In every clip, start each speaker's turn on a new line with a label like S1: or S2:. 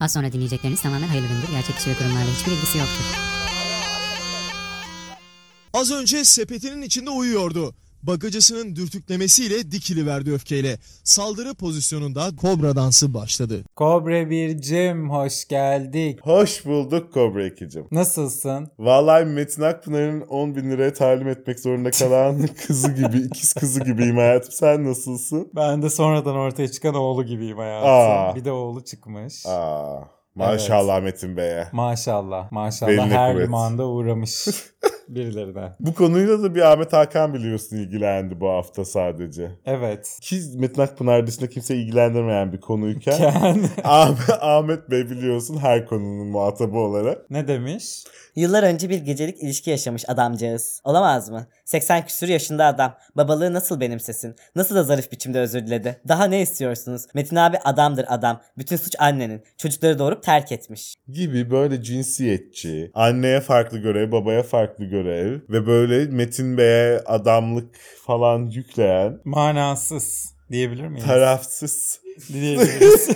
S1: Az sonra dinleyecekleriniz tamamen hayırlı gündür. Gerçek kişi ve kurumlarla hiçbir ilgisi yoktur.
S2: Az önce sepetinin içinde uyuyordu. Bagacısının dürtüklemesiyle dikiliverdi öfkeyle. Saldırı pozisyonunda kobra dansı başladı.
S3: Kobre Bircim hoş geldik.
S4: Hoş bulduk Kobra ekicim.
S3: Nasılsın?
S4: Vallahi Metin Akpınar'ın 10 bin liraya talim etmek zorunda kalan kızı gibi, ikiz kızı gibiyim hayatım. Sen nasılsın?
S3: Ben de sonradan ortaya çıkan oğlu gibiyim hayatım.
S4: Aa.
S3: Bir de oğlu çıkmış.
S4: Aa, maşallah Metin Bey'e.
S3: Maşallah. Maşallah
S4: Beline
S3: her
S4: kuvvet.
S3: limanda uğramış birilerine.
S4: Bu konuyla da bir Ahmet Hakan biliyorsun ilgilendi bu hafta sadece.
S3: Evet.
S4: Ki Metin Akpınar dışında kimse ilgilendirmeyen bir konuyken
S3: Ken
S4: Ahmet, Ahmet Bey biliyorsun her konunun muhatabı olarak.
S3: ne demiş?
S5: Yıllar önce bir gecelik ilişki yaşamış adamcağız. Olamaz mı? 80 küsür yaşında adam. Babalığı nasıl benimsesin? Nasıl da zarif biçimde özür diledi? Daha ne istiyorsunuz? Metin abi adamdır adam. Bütün suç annenin. Çocukları doğurup terk etmiş.
S4: gibi böyle cinsiyetçi, anneye farklı görev, babaya farklı görev ve böyle Metin Bey'e adamlık falan yükleyen
S3: Manasız diyebilir miyiz?
S4: tarafsız.
S3: Diyebiliriz.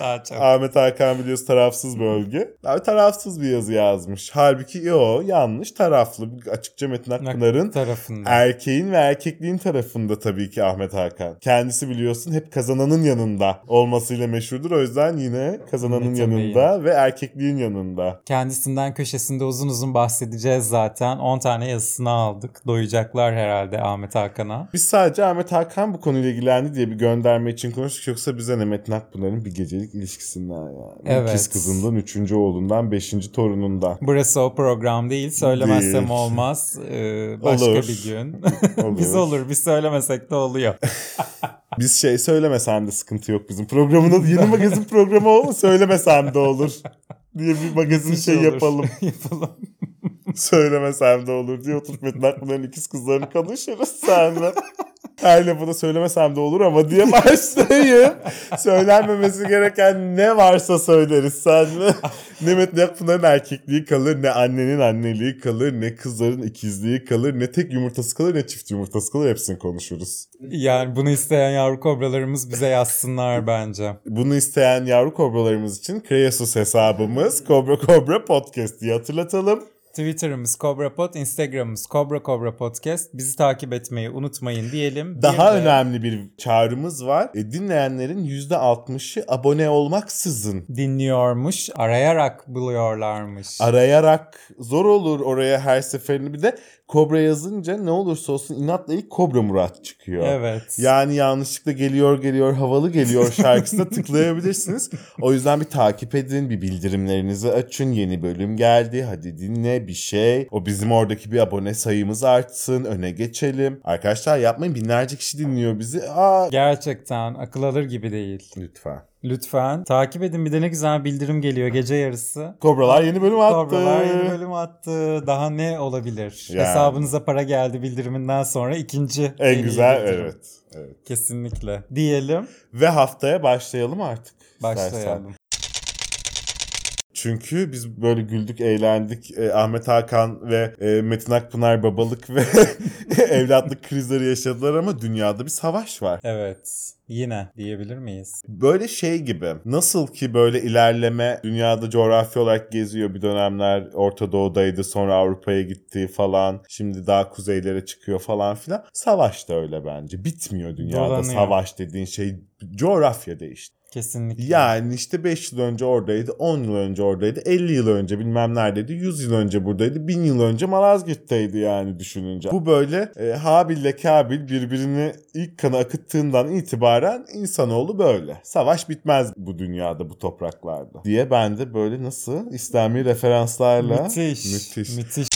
S3: Daha çok.
S4: Ahmet Hakan biliyoruz tarafsız bölge. Abi tarafsız bir yazı yazmış. Halbuki yo yanlış taraflı. Açıkça Metin Akpınar'ın
S3: tarafında.
S4: er- erkeğin ve erkekliğin tarafında tabii ki Ahmet Hakan. Kendisi biliyorsun hep kazananın yanında olmasıyla meşhurdur. O yüzden yine kazananın
S3: Metin
S4: yanında ve erkekliğin yanında.
S3: Kendisinden köşesinde uzun uzun bahsedeceğiz zaten. 10 tane yazısını aldık. Doyacaklar herhalde Ahmet Hakan'a.
S4: Biz sadece Ahmet Hakan bu konuyla ilgilendi diye bir gönderme için konuştuk. Yoksa bize ne Metin Akpınar'ın bir gecelik ilişkisinden yani.
S3: Evet.
S4: İkiz kızından, üçüncü oğlundan, beşinci torunundan.
S3: Burası o program değil. Söylemezsem
S4: Değil.
S3: olmaz. Ee, başka
S4: Olur.
S3: bir gün.
S4: Olur.
S3: biz olur. Biz söylemesek de oluyor.
S4: Biz şey söylemesen de sıkıntı yok bizim programın adı. Yeni magazin programı olur söylemesem de olur. Diye bir magazin
S3: Biz
S4: şey
S3: olur.
S4: yapalım.
S3: yapalım.
S4: söylemesem de olur diye oturup Metin Akpınar'ın ikiz kızlarını konuşuruz senle. Her lafını söylemesem de olur ama diye başlayayım. Söylenmemesi gereken ne varsa söyleriz senle. Ne Metin Akpınar'ın erkekliği kalır, ne annenin anneliği kalır, ne kızların ikizliği kalır, ne tek yumurtası kalır, ne çift yumurtası kalır. Hepsini konuşuruz.
S3: Yani bunu isteyen yavru kobralarımız bize yazsınlar bence.
S4: Bunu isteyen yavru kobralarımız için Kreasus hesabımız Kobra Kobra Podcast diye hatırlatalım.
S3: Twitter'ımız KobraPod, Instagram'ımız Kobra Kobra Podcast. Bizi takip etmeyi unutmayın diyelim.
S4: Daha
S3: Bir de-
S4: önemli bir çağrımız var. E, dinleyenlerin %60'ı abone olmaksızın.
S3: Dinliyormuş, arayarak buluyorlarmış.
S4: Arayarak zor olur oraya her seferinde. Bir de Kobra yazınca ne olursa olsun inatla ilk Kobra Murat çıkıyor.
S3: evet.
S4: Yani yanlışlıkla geliyor geliyor havalı geliyor şarkısına tıklayabilirsiniz. O yüzden bir takip edin, bir bildirimlerinizi açın. Yeni bölüm geldi, hadi dinle bir şey. O bizim oradaki bir abone sayımız artsın, öne geçelim. Arkadaşlar yapmayın binlerce kişi dinliyor bizi. Aa
S3: Gerçekten akıl alır gibi değil.
S4: lütfen.
S3: Lütfen takip edin. Bir de ne güzel bildirim geliyor gece yarısı.
S4: Kobralar yeni bölüm attı.
S3: Kobralar yeni bölüm attı. Daha ne olabilir?
S4: Yani.
S3: Hesabınıza para geldi bildiriminden sonra ikinci.
S4: En
S3: yeni
S4: güzel
S3: bildirim.
S4: evet. evet.
S3: Kesinlikle. Diyelim
S4: Ve haftaya başlayalım artık. istersen.
S3: başlayalım.
S4: Çünkü biz böyle güldük, eğlendik. E, Ahmet Hakan ve e, Metin Akpınar babalık ve evlatlık krizleri yaşadılar ama dünyada bir savaş var.
S3: Evet. Yine diyebilir miyiz?
S4: Böyle şey gibi. Nasıl ki böyle ilerleme dünyada coğrafi olarak geziyor bir dönemler Orta Doğu'daydı, sonra Avrupa'ya gitti falan. Şimdi daha kuzeylere çıkıyor falan filan. Savaş da öyle bence. Bitmiyor dünyada
S3: Dolanıyor.
S4: savaş dediğin şey. Coğrafya değişti.
S3: Kesinlikle.
S4: Yani işte 5 yıl önce oradaydı, 10 yıl önce oradaydı, 50 yıl önce bilmem neredeydi, 100 yıl önce buradaydı, 1000 yıl önce Malazgirt'teydi yani düşününce. Bu böyle e, Habil'le Kabil birbirini ilk kanı akıttığından itibaren insanoğlu böyle. Savaş bitmez bu dünyada, bu topraklarda diye ben de böyle nasıl İslami referanslarla...
S3: Müthiş.
S4: Müthiş.
S3: Müthiş.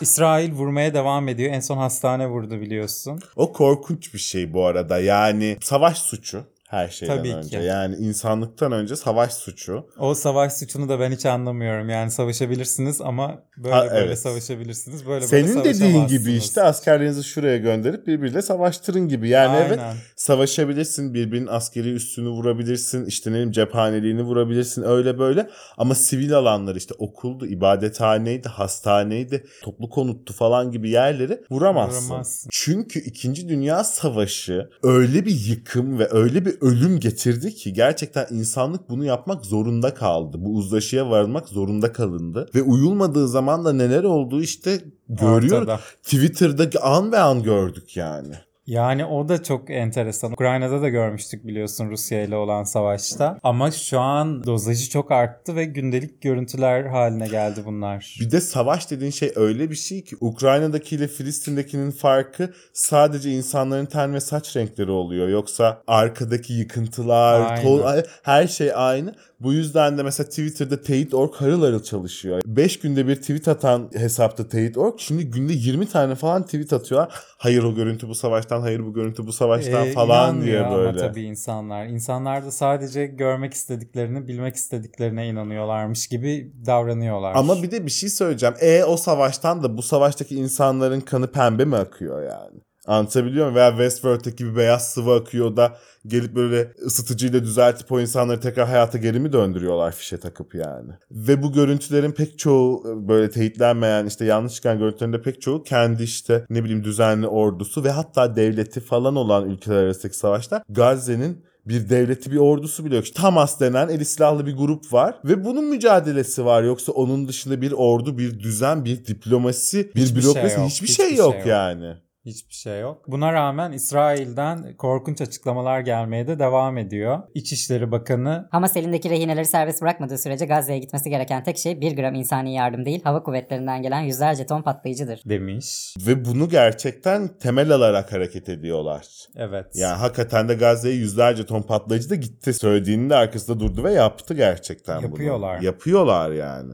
S3: İsrail vurmaya devam ediyor. En son hastane vurdu biliyorsun.
S4: O korkunç bir şey bu arada yani savaş suçu her şeyden
S3: Tabii ki.
S4: önce. Yani insanlıktan önce savaş suçu.
S3: O savaş suçunu da ben hiç anlamıyorum. Yani savaşabilirsiniz ama böyle
S4: Ha,
S3: böyle
S4: evet.
S3: savaşabilirsiniz. Böyle
S4: Senin
S3: böyle
S4: dediğin gibi
S3: savaşamazsınız.
S4: işte askerlerinizi şuraya gönderip birbiriyle savaştırın gibi. Yani evet
S3: Aynen.
S4: savaşabilirsin, birbirinin askeri üstünü vurabilirsin, işte ne bileyim cephaneliğini vurabilirsin öyle böyle. Ama sivil alanlar işte okuldu, ibadethaneydi, hastaneydi, toplu konuttu falan gibi yerleri vuramazsın.
S3: Vuramazsın.
S4: Çünkü 2. Dünya Savaşı öyle bir yıkım ve öyle bir ölüm getirdi ki gerçekten insanlık bunu yapmak zorunda kaldı. Bu uzlaşıya varmak zorunda kalındı. Ve uyulmadığı zaman da neler olduğu işte görüyoruz.
S3: Ortada.
S4: Twitter'da an be an gördük yani.
S3: Yani o da çok enteresan. Ukrayna'da da görmüştük biliyorsun Rusya ile olan savaşta. Ama şu an dozajı çok arttı ve gündelik görüntüler haline geldi bunlar.
S4: Bir de savaş dediğin şey öyle bir şey ki Ukrayna'daki ile Filistin'dekinin farkı sadece insanların ten ve saç renkleri oluyor. Yoksa arkadaki yıkıntılar,
S3: Aynen.
S4: tol, her şey aynı. Bu yüzden de mesela Twitter'da Teyit.org harıl harıl çalışıyor. 5 günde bir tweet atan hesapta Teyit.org şimdi günde 20 tane falan tweet atıyor. Hayır o görüntü bu savaştan, hayır bu görüntü bu savaştan
S3: Ee,
S4: falan
S3: inanmıyor
S4: diye böyle.
S3: Ama tabii insanlar. İnsanlar da sadece görmek istediklerini, bilmek istediklerine inanıyorlarmış gibi davranıyorlar.
S4: Ama bir de bir şey söyleyeceğim. E o savaştan da bu savaştaki insanların kanı pembe mi akıyor yani? Anlatabiliyor muyum? Veya Westworld'daki bir beyaz sıvı akıyor da gelip böyle ısıtıcıyla düzeltip o insanları tekrar hayata geri mi döndürüyorlar fişe takıp yani? Ve bu görüntülerin pek çoğu e, böyle teyitlenmeyen işte yanlış çıkan görüntülerin de pek çoğu kendi işte ne bileyim düzenli ordusu ve hatta devleti falan olan ülkeler arasındaki savaşlar Gazze'nin bir devleti bir ordusu bile yok. İşte Hamas denen eli silahlı bir grup var ve bunun mücadelesi var. Yoksa onun dışında bir ordu, bir düzen, bir diplomasi, bir
S3: Hiçbir şey
S4: bürokrasi
S3: yok.
S4: hiçbir,
S3: Hiçbir
S4: şey
S3: şey
S4: yok
S3: yok.
S4: yani.
S3: Hiçbir şey yok. Buna rağmen İsrail'den korkunç açıklamalar gelmeye de devam ediyor. İçişleri Bakanı
S1: Hamas elindeki rehineleri serbest bırakmadığı sürece Gazze'ye gitmesi gereken tek şey bir gram insani yardım değil, hava kuvvetlerinden gelen yüzlerce ton patlayıcıdır.
S3: demiş.
S4: Ve bunu gerçekten temel alarak hareket ediyorlar.
S3: Evet.
S4: Yani hakikaten de Gazze'ye yüzlerce ton patlayıcı da gitti. Söylediğinin de arkasında durdu ve yaptı gerçekten bunu.
S3: Yapıyorlar.
S4: Yapıyorlar yani.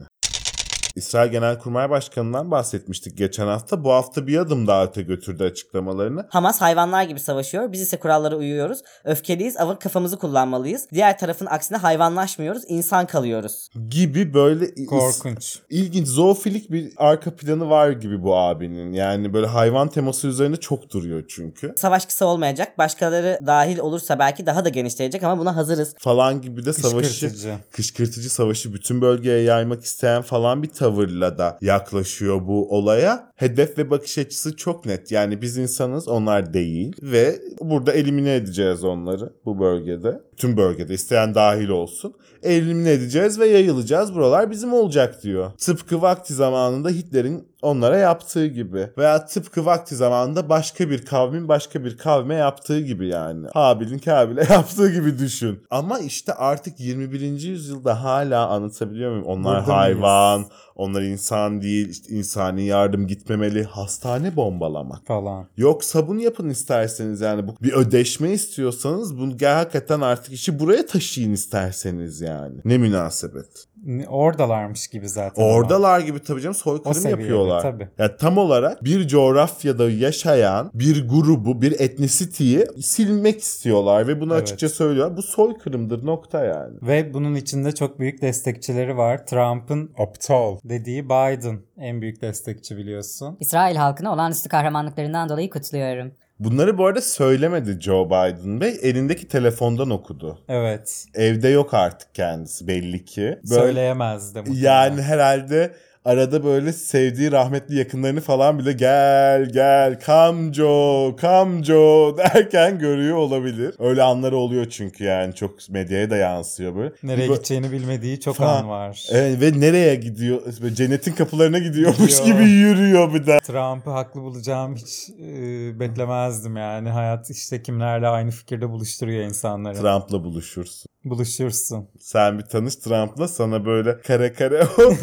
S4: İsrail Genelkurmay Başkanı'ndan bahsetmiştik geçen hafta. Bu hafta bir adım daha öte götürdü açıklamalarını.
S5: Hamas hayvanlar gibi savaşıyor. Biz ise kurallara uyuyoruz. Öfkeliyiz ama kafamızı kullanmalıyız. Diğer tarafın aksine hayvanlaşmıyoruz. insan kalıyoruz.
S4: Gibi böyle
S3: Korkunç.
S4: ilginç zoofilik bir arka planı var gibi bu abinin. Yani böyle hayvan teması üzerine çok duruyor çünkü.
S5: Savaş kısa olmayacak. Başkaları dahil olursa belki daha da genişleyecek ama buna hazırız.
S4: Falan gibi de savaşı
S3: Kışkırtıcı.
S4: kışkırtıcı savaşı bütün bölgeye yaymak isteyen falan bir tavırla da yaklaşıyor bu olaya. Hedef ve bakış açısı çok net. Yani biz insanız onlar değil ve burada elimine edeceğiz onları bu bölgede. Tüm bölgede isteyen dahil olsun. Elimine edeceğiz ve yayılacağız. Buralar bizim olacak diyor. Tıpkı vakti zamanında Hitler'in onlara yaptığı gibi veya tıpkı vakti zamanında başka bir kavmin başka bir kavme yaptığı gibi yani. Habil'in Kabil'e yaptığı gibi düşün. Ama işte artık 21. yüzyılda hala anlatabiliyor muyum? Onlar
S3: Burada
S4: hayvan,
S3: mıyız?
S4: onlar insan değil, işte insani yardım gitmemeli, hastane bombalamak.
S3: falan.
S4: Yoksa bunu yapın isterseniz yani bu bir ödeşme istiyorsanız bunu gel hakikaten artık işi buraya taşıyın isterseniz yani. Ne münasebet.
S3: N- Oradalarmış gibi zaten. ama.
S4: Oradalar gibi tabii canım
S3: O
S4: soykırım
S3: seviyede
S4: yapıyorlar.
S3: tabii.
S4: Ya tam olarak bir coğrafyada yaşayan bir grubu, bir etnisity'yi silmek istiyorlar ve bunu
S3: Evet.
S4: açıkça söylüyorlar. Bu soykırımdır nokta yani.
S3: Ve bunun içinde çok büyük destekçileri var. Trump'ın
S4: Aptal.
S3: dediği Biden en büyük destekçi biliyorsun.
S1: İsrail halkını olağanüstü kahramanlıklarından dolayı kutluyorum.
S4: Bunları bu arada söylemedi Joe Biden Bey. Elindeki telefondan okudu.
S3: Evet.
S4: Evde yok artık kendisi belli ki.
S3: Söyleyemezdi muhtemelen.
S4: Yani herhalde arada böyle sevdiği rahmetli yakınlarını falan bile gel gel kamco kamco derken görüyor olabilir. Öyle anları oluyor çünkü yani çok medyaya da yansıyor böyle.
S3: Nereye
S4: Bir bak-
S3: gideceğini bilmediği çok
S4: Falan.
S3: an var.
S4: Evet, ve nereye gidiyor? Böyle Cennetin kapılarına gidiyormuş
S3: Gidiyor.
S4: gibi yürüyor bir de.
S3: Trump'ı haklı bulacağım hiç e, beklemezdim yani. Hayat işte kimlerle aynı fikirde buluşturuyor insanları.
S4: Trump'la buluşursun.
S3: Buluşursun.
S4: Sen bir tanış Trump'la sana böyle kare kare o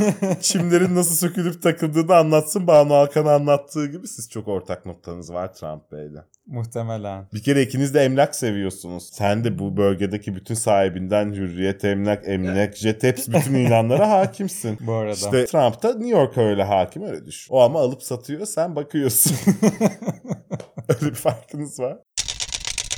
S4: çimlerin nasıl sökülüp takıldığını anlatsın. Banu Hakan'a anlattığı gibi siz çok ortak noktanız var Trump Bey'le.
S3: Muhtemelen.
S4: Bir kere ikiniz de emlak seviyorsunuz. Sen de bu bölgedeki bütün sahibinden Hürriyet, Emlak, Emlak, Jet hepsi bütün ilanlara hakimsin.
S3: Bu arada.
S4: İşte Trump da New York'a öyle hakim öyle düşün. O ama alıp satıyor sen bakıyorsun. öyle bir farkınız var.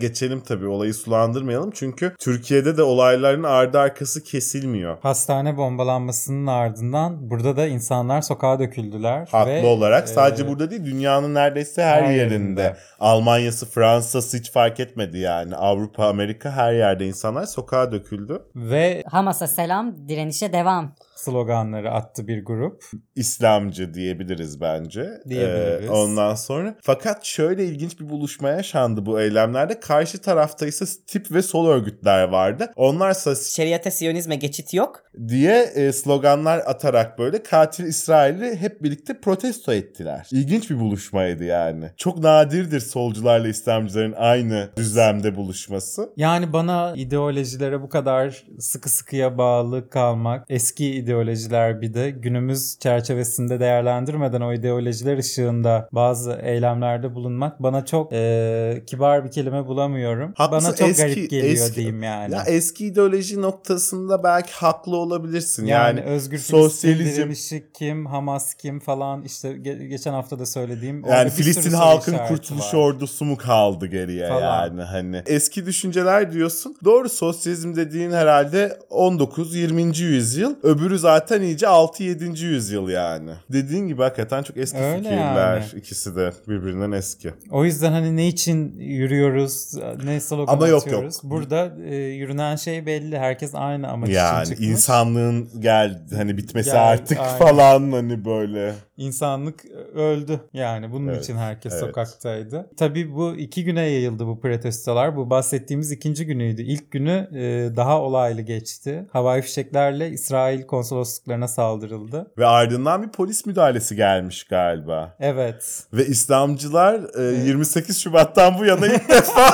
S4: Geçelim tabii olayı sulandırmayalım çünkü Türkiye'de de olayların ardı arkası kesilmiyor.
S3: Hastane bombalanmasının ardından burada da insanlar sokağa döküldüler.
S4: Haklı
S3: ve,
S4: olarak sadece
S3: e,
S4: burada değil dünyanın neredeyse her,
S3: her
S4: yerinde.
S3: yerinde.
S4: Almanya'sı, Fransa'sı hiç fark etmedi yani. Avrupa, Amerika her yerde insanlar sokağa döküldü.
S3: Ve
S1: Hamas'a selam, direnişe devam.
S3: sloganları attı bir grup.
S4: İslamcı diyebiliriz bence.
S3: Diyebiliriz.
S4: Ee, ondan sonra. Fakat şöyle ilginç bir buluşma yaşandı bu eylemlerde. Karşı tarafta ise tip ve sol örgütler vardı. Onlarsa
S5: Şeriate siyonizme geçit yok.
S4: diye e, sloganlar atarak böyle katil İsrail'i hep birlikte protesto ettiler. İlginç bir buluşmaydı yani. Çok nadirdir solcularla İslamcıların aynı düzlemde buluşması.
S3: Yani bana ideolojilere bu kadar sıkı sıkıya bağlı kalmak, eski ideolojiler bir de günümüz çerçevesinde değerlendirmeden o ideolojiler ışığında bazı eylemlerde bulunmak bana çok e, kibar bir kelime bulamıyorum.
S4: Haklısın,
S3: bana çok
S4: eski-
S3: garip geliyor
S4: eski-
S3: diyeyim yani.
S4: Ya e, eski ideoloji noktasında belki haklı olabilirsin.
S3: yani,
S4: Yani,
S3: özgür
S4: sosyalizm-
S3: Filistin direnişi kim, Hamas kim falan işte ge- geçen hafta da söylediğim. orada
S4: Yani
S3: bir sürü
S4: Filistin
S3: soru
S4: halkın
S3: işareti
S4: kurtuluş
S3: var.
S4: ordusu mu kaldı geriye
S3: Falan.
S4: yani hani. Eski düşünceler diyorsun. Doğru sosyalizm dediğin herhalde 19-20. yüzyıl. Öbürü zaten iyice 6-7. yüzyıl yani. Dediğin gibi hakikaten çok eski
S3: Öyle
S4: fikirler.
S3: yani.
S4: İkisi de birbirinden eski.
S3: O yüzden hani ne için yürüyoruz, ne slogan
S4: Ama yok,
S3: atıyoruz.
S4: yok.
S3: Burada e, yürünen şey belli. Herkes aynı amaç
S4: yani
S3: için çıkmış.
S4: insanlığın gel hani bitmesi
S3: Gel-
S4: artık
S3: aynen.
S4: falan hani böyle.
S3: İnsanlık e, öldü. Yani bunun
S4: Evet,
S3: için herkes
S4: evet.
S3: sokaktaydı. Tabii bu iki güne yayıldı bu protestolar. Bu bahsettiğimiz ikinci günüydü. İlk günü e, daha olaylı geçti. Havai fişeklerle İsrail konsolosluklarına saldırıldı.
S4: Ve ardından bir polis müdahalesi gelmiş galiba.
S3: Evet.
S4: Ve İslamcılar e, 28 Şubat'tan bu yana ilk defa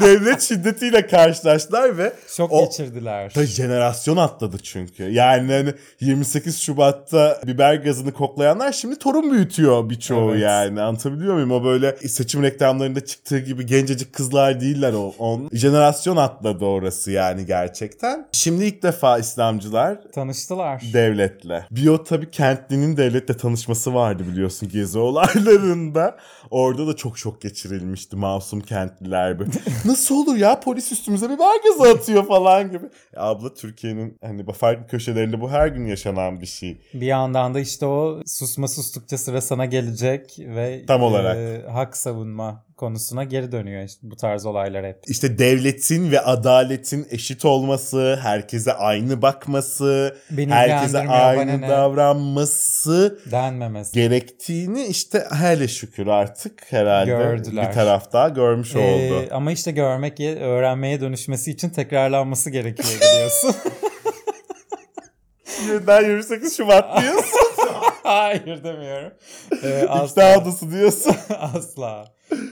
S4: devlet şiddetiyle karşılaştılar ve
S3: Şok
S4: O-
S3: geçirdiler.
S4: da jenerasyon atladı çünkü. Yani hani 28 Şubat'ta biber gazını koklayanlar şimdi torun büyütüyor birçoğu
S3: Evet.
S4: yani. Anlatabiliyor muyum? O böyle seçim reklamlarında çıktığı gibi gencecik kızlar değiller o. On. Jenerasyon atladı orası yani gerçekten. Şimdi ilk defa İslamcılar
S3: Tanıştılar.
S4: devletle. Bio tabii kentlinin devletle tanışması vardı biliyorsun gezi olaylarında. Orada da çok şok geçirilmişti masum kentliler böyle. Nasıl olur ya polis üstümüze biber gazı atıyor falan gibi. Ya abla Türkiye'nin hani farklı köşelerinde bu her gün yaşanan bir şey.
S3: Bir yandan da işte o susma sustukça sıra sana gelecek ve
S4: Tam olarak.
S3: e, hak savunma konusuna geri dönüyor işte bu tarz olaylar hep.
S4: İşte devletin ve adaletin eşit olması, herkese aynı bakması,
S3: Beni
S4: herkese
S3: ilgilendirmiyor, bana
S4: aynı
S3: ne?
S4: davranması
S3: denmemesi.
S4: gerektiğini işte hele şükür artık herhalde
S3: Gördüler.
S4: bir taraf daha görmüş
S3: Ee,
S4: oldu.
S3: ama işte görmek, ye- öğrenmeye dönüşmesi için tekrarlanması gerekiyor biliyorsun.
S4: Birden 28 Şubat diyorsun.
S3: Hayır demiyorum. Ee,
S4: İkna
S3: asla.
S4: odası diyorsun.
S3: asla.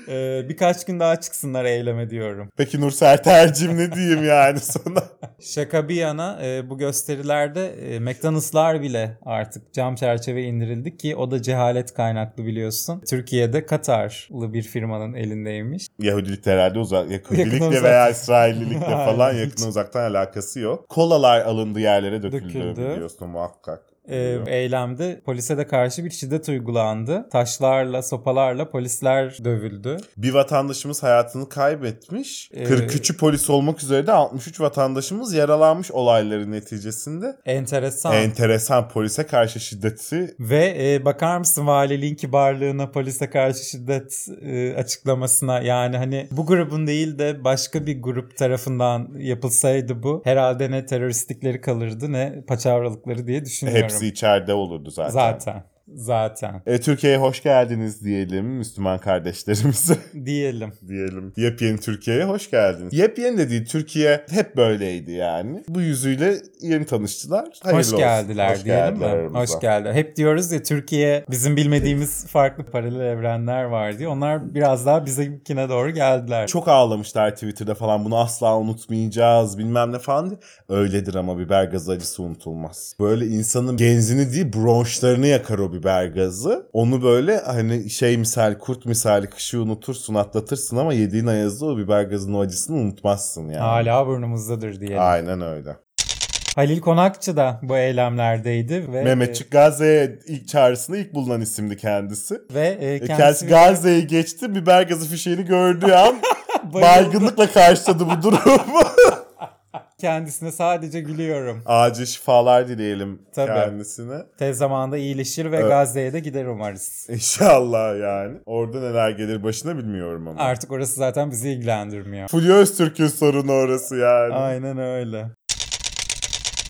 S3: Ee, birkaç gün daha çıksınlar eyleme diyorum.
S4: Peki Nursel tercim ne diyeyim yani sana?
S3: Şaka bir yana e, bu gösterilerde e, McDonald'slar bile artık cam çerçeve indirildi ki o da cehalet kaynaklı biliyorsun. Türkiye'de Katarlı bir firmanın elindeymiş.
S4: Yahudilikle herhalde uzak,
S3: Yakın
S4: Yahudilikle
S3: uzak.
S4: veya İsraillilikle falan
S3: Hayır,
S4: yakın uzaktan alakası yok. Kolalar alındı yerlere döküldü,
S3: Döküldü.
S4: biliyorsun muhakkak.
S3: E, eylemde polise de karşı bir şiddet uygulandı. Taşlarla, sopalarla polisler dövüldü.
S4: Bir vatandaşımız hayatını kaybetmiş.
S3: Ee,
S4: 43'ü polis olmak üzere de 63 vatandaşımız yaralanmış olayların neticesinde.
S3: Enteresan.
S4: Enteresan polise karşı şiddeti
S3: Ve e, bakar mısın valiliğin kibarlığına, polise karşı şiddet e, açıklamasına yani hani bu grubun değil de başka bir grup tarafından yapılsaydı bu herhalde ne teröristlikleri kalırdı ne paçavralıkları diye düşünüyorum.
S4: hepsi içeride olurdu zaten.
S3: zaten. Zaten
S4: E, Türkiye'ye hoş geldiniz diyelim Müslüman kardeşlerimize.
S3: diyelim.
S4: diyelim. Yepyeni Türkiye'ye hoş geldiniz. Yepyeni de değil Türkiye hep böyleydi yani. Bu yüzüyle yeni tanıştılar. Hayırlı
S3: hoş geldiler
S4: olsun.
S3: diyelim
S4: geldiler
S3: mi?
S4: aramıza.
S3: Hoş geldi. Hep diyoruz ya Türkiye bizim bilmediğimiz farklı paralel evrenler var diye. Onlar biraz daha bizimkine doğru geldiler.
S4: Çok ağlamışlar Twitter'da falan bunu asla unutmayacağız bilmem ne falan diye. Öyledir ama biber gazı acısı unutulmaz. Böyle insanın genzini değil bronşlarını yakar o biber gazı. Onu böyle hani şey misal kurt misali kışı unutursun atlatırsın ama yediğin ayazda o biber gazının o acısını unutmazsın yani.
S3: Hala burnumuzdadır diyelim.
S4: Aynen öyle.
S3: Halil Konakçı da bu eylemlerdeydi ve e,
S4: Mehmetçik Gazze'ye ilk çağrısında ilk bulunan isimdi kendisi.
S3: ve e,
S4: E,
S3: kendisi,
S4: Kendisi Gazze'yi geçti. Biber gazı fişeğini gördüğü an
S3: bayıldı.
S4: baygınlıkla karşıladı bu durumu.
S3: kendisine sadece gülüyorum.
S4: Acil şifalar dileyelim
S3: Tabii.
S4: kendisine.
S3: Tez zamanda iyileşir ve
S4: Evet.
S3: Gazze'ye de gider umarız.
S4: İnşallah yani. Orada neler gelir başına bilmiyorum ama.
S3: Artık orası zaten bizi ilgilendirmiyor.
S4: Fulya Öztürk'ün sorunu orası yani.
S3: Aynen öyle.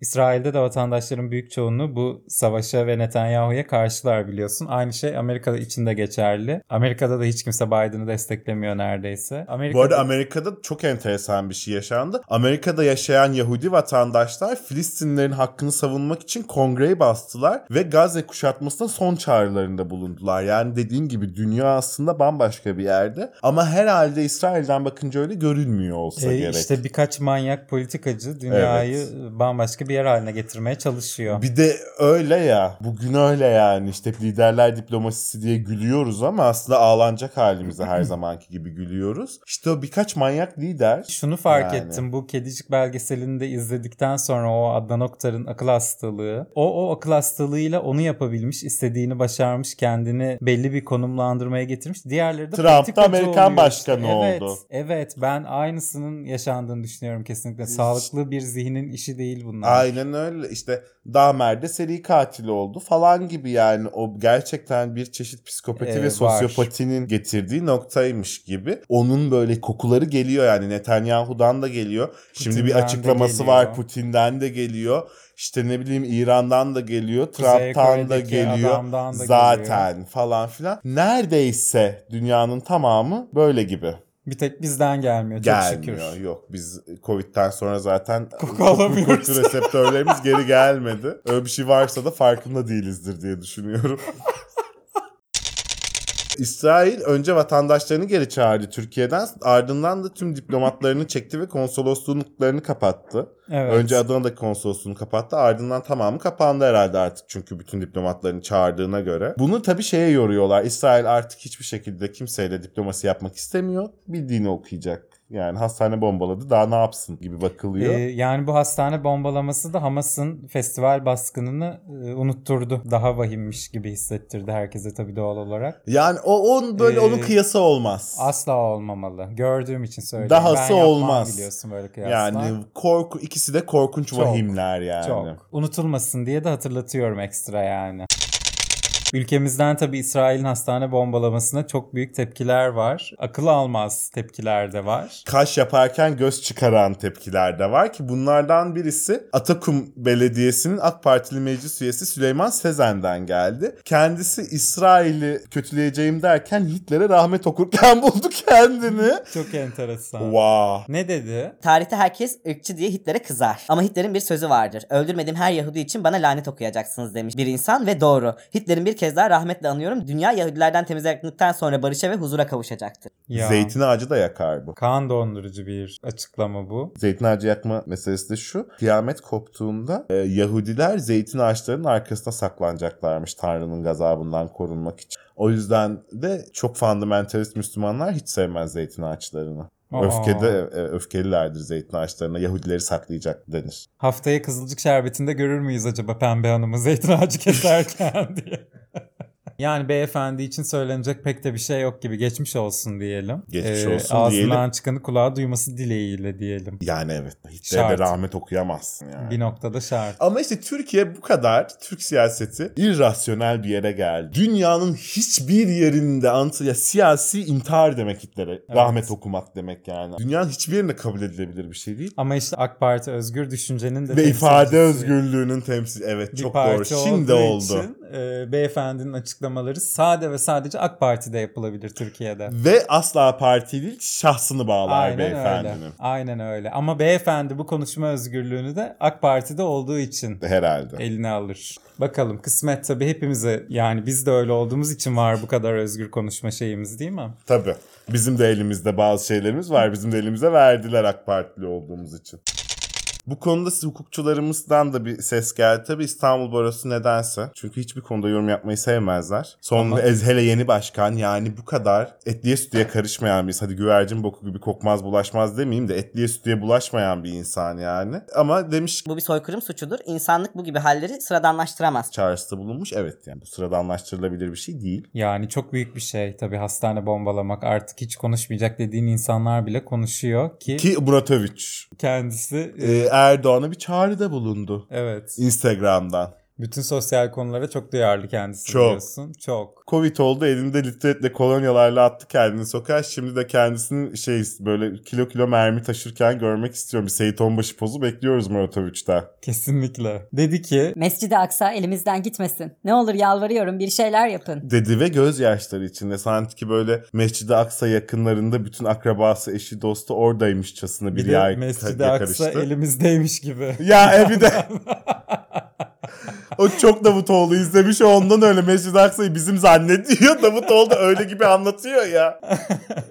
S3: İsrail'de de vatandaşların büyük çoğunluğu bu savaşa ve Netanyahu'ya karşılar biliyorsun. Aynı şey Amerika için de geçerli. Amerika'da da hiç kimse Biden'ı desteklemiyor neredeyse. Amerika'da...
S4: Bu arada Amerika'da çok enteresan bir şey yaşandı. Amerika'da yaşayan Yahudi vatandaşlar Filistinlerin hakkını savunmak için kongreyi bastılar ve Gazze kuşatmasına son çağrılarında bulundular. Yani dediğin gibi dünya aslında bambaşka bir yerde ama herhalde İsrail'den bakınca öyle görünmüyor olsa
S3: E,
S4: gerek.
S3: işte birkaç manyak politikacı dünyayı bambaşka bir yer haline getirmeye çalışıyor.
S4: Bir de öyle ya. Bugün öyle yani. İşte hep liderler diplomasisi diye gülüyoruz ama aslında ağlanacak halimize her zamanki gibi gülüyoruz. İşte o birkaç manyak lider.
S3: Şunu fark
S4: Yani.
S3: ettim bu kedicik belgeselini de izledikten sonra o Adnan Oktar'ın akıl hastalığı. O o akıl hastalığıyla onu yapabilmiş, istediğini başarmış, kendini belli bir konumlandırmaya getirmiş. Diğerleri de
S4: Trump da
S3: politikacı
S4: Amerikan
S3: oluyor
S4: başkanı
S3: evet,
S4: oldu.
S3: Evet, ben aynısının yaşandığını düşünüyorum kesinlikle. Sağlıklı bir zihnin işi değil bunlar.
S4: Aynen öyle işte Damer de seri katil oldu falan gibi yani o gerçekten bir çeşit psikopati
S3: Ee,
S4: ve
S3: var.
S4: sosyopatinin getirdiği noktaymış gibi. Onun böyle kokuları geliyor yani Netanyahu'dan da geliyor. Şimdi bir
S3: Putin'den de
S4: açıklaması
S3: geliyor.
S4: var Putin'den de geliyor. İşte ne bileyim İran'dan da geliyor,
S3: Kuzey
S4: Trump'tan da
S3: Kore'deki
S4: geliyor.
S3: adamdan da
S4: Zaten
S3: geliyor.
S4: falan filan. Neredeyse dünyanın tamamı böyle gibi.
S3: Bir tek bizden gelmiyor çok şükür.
S4: Gelmiyor. Yok biz Covid'den sonra zaten
S3: Koku alamıyoruz.
S4: koku reseptörlerimiz geri gelmedi. Öyle bir şey varsa da farkında değilizdir diye düşünüyorum. İsrail önce vatandaşlarını geri çağırdı Türkiye'den ardından da tüm diplomatlarını çekti ve konsolosluklarını kapattı.
S3: Evet.
S4: Önce Adana'daki konsolosluğunu kapattı. Ardından tamamı kapandı herhalde artık. Çünkü bütün diplomatlarını çağırdığına göre. Bunu tabii şeye yoruyorlar. İsrail artık hiçbir şekilde kimseyle diplomasi yapmak istemiyor. Bildiğini okuyacak. Yani hastane bombaladı daha ne yapsın gibi bakılıyor.
S3: Ee, yani bu hastane bombalaması da Hamas'ın festival baskınını e, unutturdu. Daha vahimmiş gibi hissettirdi herkese tabii doğal olarak.
S4: yani o on böyle
S3: Ee,
S4: onun kıyası olmaz.
S3: Asla olmamalı. Gördüğüm için söylüyorum.
S4: Dahası
S3: Ben yapmam
S4: olmaz.
S3: biliyorsun böyle kıyaslar.
S4: yani korku ikisi de korkunç
S3: Çok,
S4: vahimler yani.
S3: Çok. Unutulmasın diye de hatırlatıyorum ekstra yani. Ülkemizden tabii İsrail'in hastane bombalamasına çok büyük tepkiler var. Akıl almaz tepkiler de var.
S4: kaş yaparken göz çıkaran tepkiler de var ki bunlardan birisi Atakum Belediyesi'nin AK Partili meclis üyesi Süleyman Sezen'den geldi. Kendisi İsrail'i kötüleyeceğim derken Hitler'e rahmet okurken buldu kendini.
S3: Çok enteresan.
S4: Vah.
S3: Ne dedi?
S5: Tarihte herkes ırkçı diye Hitler'e kızar. Ama Hitler'in bir sözü vardır. Öldürmediğim her Yahudi için bana lanet okuyacaksınız demiş bir insan ve doğru. Hitler'in bir kez daha rahmetle anıyorum. Dünya Yahudilerden temizlendikten sonra barışa ve huzura kavuşacaktır.
S3: Ya.
S4: Zeytin ağacı da yakar bu.
S3: Kan dondurucu bir açıklama bu.
S4: Zeytin ağacı yakma meselesi de şu. Kıyamet koptuğunda e, Yahudiler zeytin ağaçlarının arkasına saklanacaklarmış Tanrı'nın gazabından korunmak için. O yüzden de çok fundamentalist Müslümanlar hiç sevmez zeytin ağaçlarını.
S3: Aa.
S4: Öfkede e, öfkelilerdir zeytin ağaçlarına. Yahudileri saklayacak denir.
S3: Haftaya Kızılcık Şerbeti'nde görür müyüz acaba Pembe Hanım'ı zeytin ağacı keserken diye. Yani beyefendi için söylenecek pek de bir şey yok gibi. Geçmiş olsun diyelim. Ee,
S4: Geçmiş olsun
S3: ağzından
S4: diyelim.
S3: çıkanı kulağa duyması dileğiyle diyelim.
S4: Yani evet. Hitler'e de
S3: Şart.
S4: rahmet okuyamazsın yani.
S3: Bir noktada şart.
S4: Ama işte Türkiye bu kadar Türk siyaseti irrasyonel bir yere geldi. Dünyanın hiçbir yerinde anti ya siyasi intihar demek Hitler'e. Rahmet okumak demek yani. Dünyanın hiçbir yerinde kabul edilebilir bir şey değil.
S3: Ama işte AK Parti özgür düşüncenin de
S4: Ve ifade
S3: temsilcisi.
S4: özgürlüğünün temsil evet
S3: bir
S4: çok doğru.
S3: parti
S4: Şimdi
S3: olduğu
S4: oldu.
S3: için, e, beyefendinin açıklamaları sade ve sadece AK Parti'de yapılabilir Türkiye'de.
S4: Ve asla parti değil şahsını bağlar beyefendinin.
S3: öyle. Aynen öyle. Ama beyefendi bu konuşma özgürlüğünü de AK Parti'de olduğu için
S4: Herhalde.
S3: eline alır. Bakalım kısmet tabii hepimize yani biz de öyle olduğumuz için var bu kadar özgür konuşma şeyimiz değil mi?
S4: Tabii. Bizim de elimizde bazı şeylerimiz var. Bizim de elimize verdiler AK Partili olduğumuz için. Bu konuda siz hukukçularımızdan da bir ses geldi. Tabii İstanbul Barosu nedense. Çünkü hiçbir konuda yorum yapmayı sevmezler. Sonra
S3: Ama-
S4: ez hele yeni başkan yani bu kadar etliye sütüye karışmayan bir hadi güvercin boku gibi kokmaz bulaşmaz demeyeyim de etliye sütüye bulaşmayan bir insan yani. Ama demiş ki
S5: Bu bir soykırım suçudur. İnsanlık bu gibi halleri sıradanlaştıramaz.
S4: çağrısında bulunmuş. Evet yani bu sıradanlaştırılabilir bir şey değil.
S3: Yani çok büyük bir şey tabii hastane bombalamak artık hiç konuşmayacak dediğin insanlar bile konuşuyor ki,
S4: Ki Obratovic
S3: kendisi
S4: e, Erdoğan'a bir çağrıda bulundu.
S3: evet
S4: Instagram'dan.
S3: Bütün sosyal konulara çok duyarlı kendisi
S4: Çok.
S3: biliyorsun. Çok.
S4: Covid oldu elinde litretle kolonyalarla attı kendini sokağa. Şimdi de kendisini şey böyle kilo kilo mermi taşırken görmek istiyorum. Bir Seyit Onbaşı pozu bekliyoruz Muratoviç'ten.
S3: Kesinlikle. Dedi ki
S1: Mescid-i Aksa elimizden gitmesin. Ne olur yalvarıyorum bir şeyler yapın.
S4: Dedi ve gözyaşları içinde sanki böyle Mescid-i Aksa yakınlarında bütün akrabası, eşi, dostu oradaymışçasına bir,
S3: bir
S4: yay
S3: de
S4: karıştı.
S3: Mescid-i Aksa elimizdeymiş gibi.
S4: Ya e bir de o çok Davutoğlu izlemiş o ondan öyle Mescid-i Aksa'yı bizim zannediyor. Davutoğlu da öyle gibi anlatıyor ya.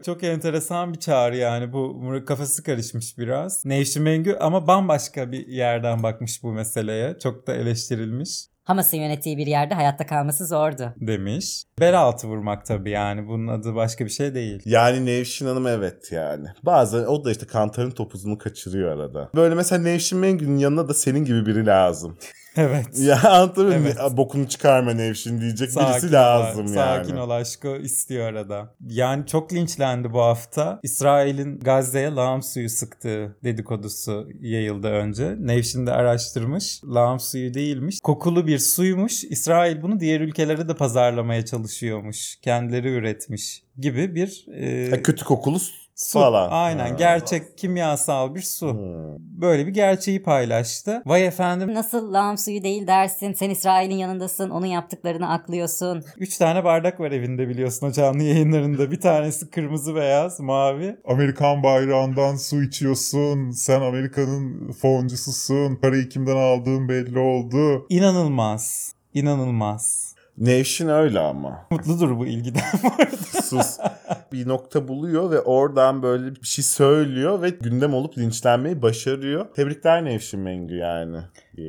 S3: Çok enteresan bir çağrı yani bu Murat kafası karışmış biraz. Nevşin Mengü ama bambaşka bir yerden bakmış bu meseleye. Çok da eleştirilmiş
S1: Hamas'ın yönettiği bir yerde hayatta kalması zordu.
S3: demiş. Bel altı vurmak tabii yani bunun adı başka bir şey değil.
S4: Yani Nevşin Hanım evet yani. Bazen o da işte kantarın topuzunu kaçırıyor arada. Böyle mesela Nevşin Mengü'nün yanına da senin gibi biri lazım.
S3: Evet.
S4: ya anlatabiliyor muyum?
S3: Evet.
S4: Bokunu çıkarma Nevşin diyecek birisi
S3: ol,
S4: lazım yani.
S3: Sakin ol aşkı istiyor arada. Yani çok linçlendi bu hafta. İsrail'in Gazze'ye lağım suyu sıktığı dedikodusu yayıldı önce. Nevşin de araştırmış. Lağım suyu değilmiş. Kokulu bir suymuş. İsrail bunu diğer ülkelere de pazarlamaya çalışıyormuş. Kendileri üretmiş gibi bir e,
S4: Ha, kötü kokulu s-
S3: su.
S4: falan.
S3: Aynen
S4: Ha.
S3: gerçek kimyasal bir su.
S4: Hmm.
S3: Böyle bir gerçeği paylaştı. Vay efendim
S1: Nasıl lağım suyu değil dersin, sen İsrail'in yanındasın, onun yaptıklarını aklıyorsun.
S3: Üç tane bardak var evinde biliyorsun o canlı yayınlarında. Bir tanesi kırmızı beyaz, mavi.
S6: Amerikan bayrağından su içiyorsun. Sen Amerika'nın foncususun. Parayı kimden aldığın belli oldu.
S3: İnanılmaz. İnanılmaz.
S4: Nevşin öyle ama.
S3: Mutludur bu ilgiden bu arada.
S4: Sus. bir nokta buluyor ve oradan böyle bir şey söylüyor ve gündem olup linçlenmeyi başarıyor. Tebrikler Nevşin Mengü yani.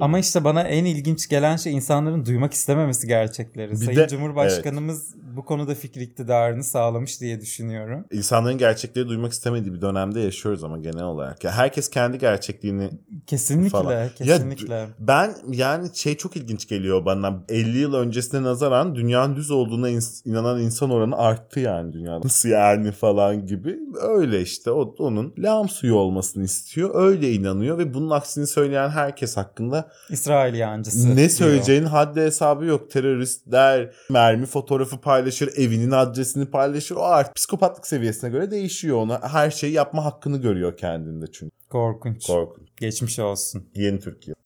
S3: Ama işte bana en ilginç gelen şey insanların duymak istememesi gerçekleri.
S4: Bir
S3: Sayın
S4: de-
S3: Cumhurbaşkanımız bu konuda fikir iktidarını sağlamış diye düşünüyorum.
S4: İnsanların gerçekleri duymak istemediği bir dönemde yaşıyoruz ama genel olarak. Ya herkes kendi gerçekliğini
S3: Kesinlikle,
S4: Falan. Ya
S3: kesinlikle.
S4: ben yani şey çok ilginç geliyor bana. 50 yıl öncesine nazaran dünyanın düz olduğuna ins- inanan insan oranı arttı yani dünyada. Nasıl yani falan gibi. Öyle işte o, onun lağım suyu olmasını istiyor. Öyle inanıyor ve bunun aksini söyleyen herkes hakkında
S3: İsrail yancısı.
S4: ne
S3: diyor.
S4: söyleyeceğinin haddi hesabı yok. Teröristler mermi fotoğrafı paylaşır, evinin adresini paylaşır. O artık psikopatlık seviyesine göre değişiyor ona. Her şeyi yapma hakkını görüyor kendinde çünkü.
S3: Korkunç.
S4: Korkun.
S3: Geçmiş olsun.
S4: Yeni Türkiye.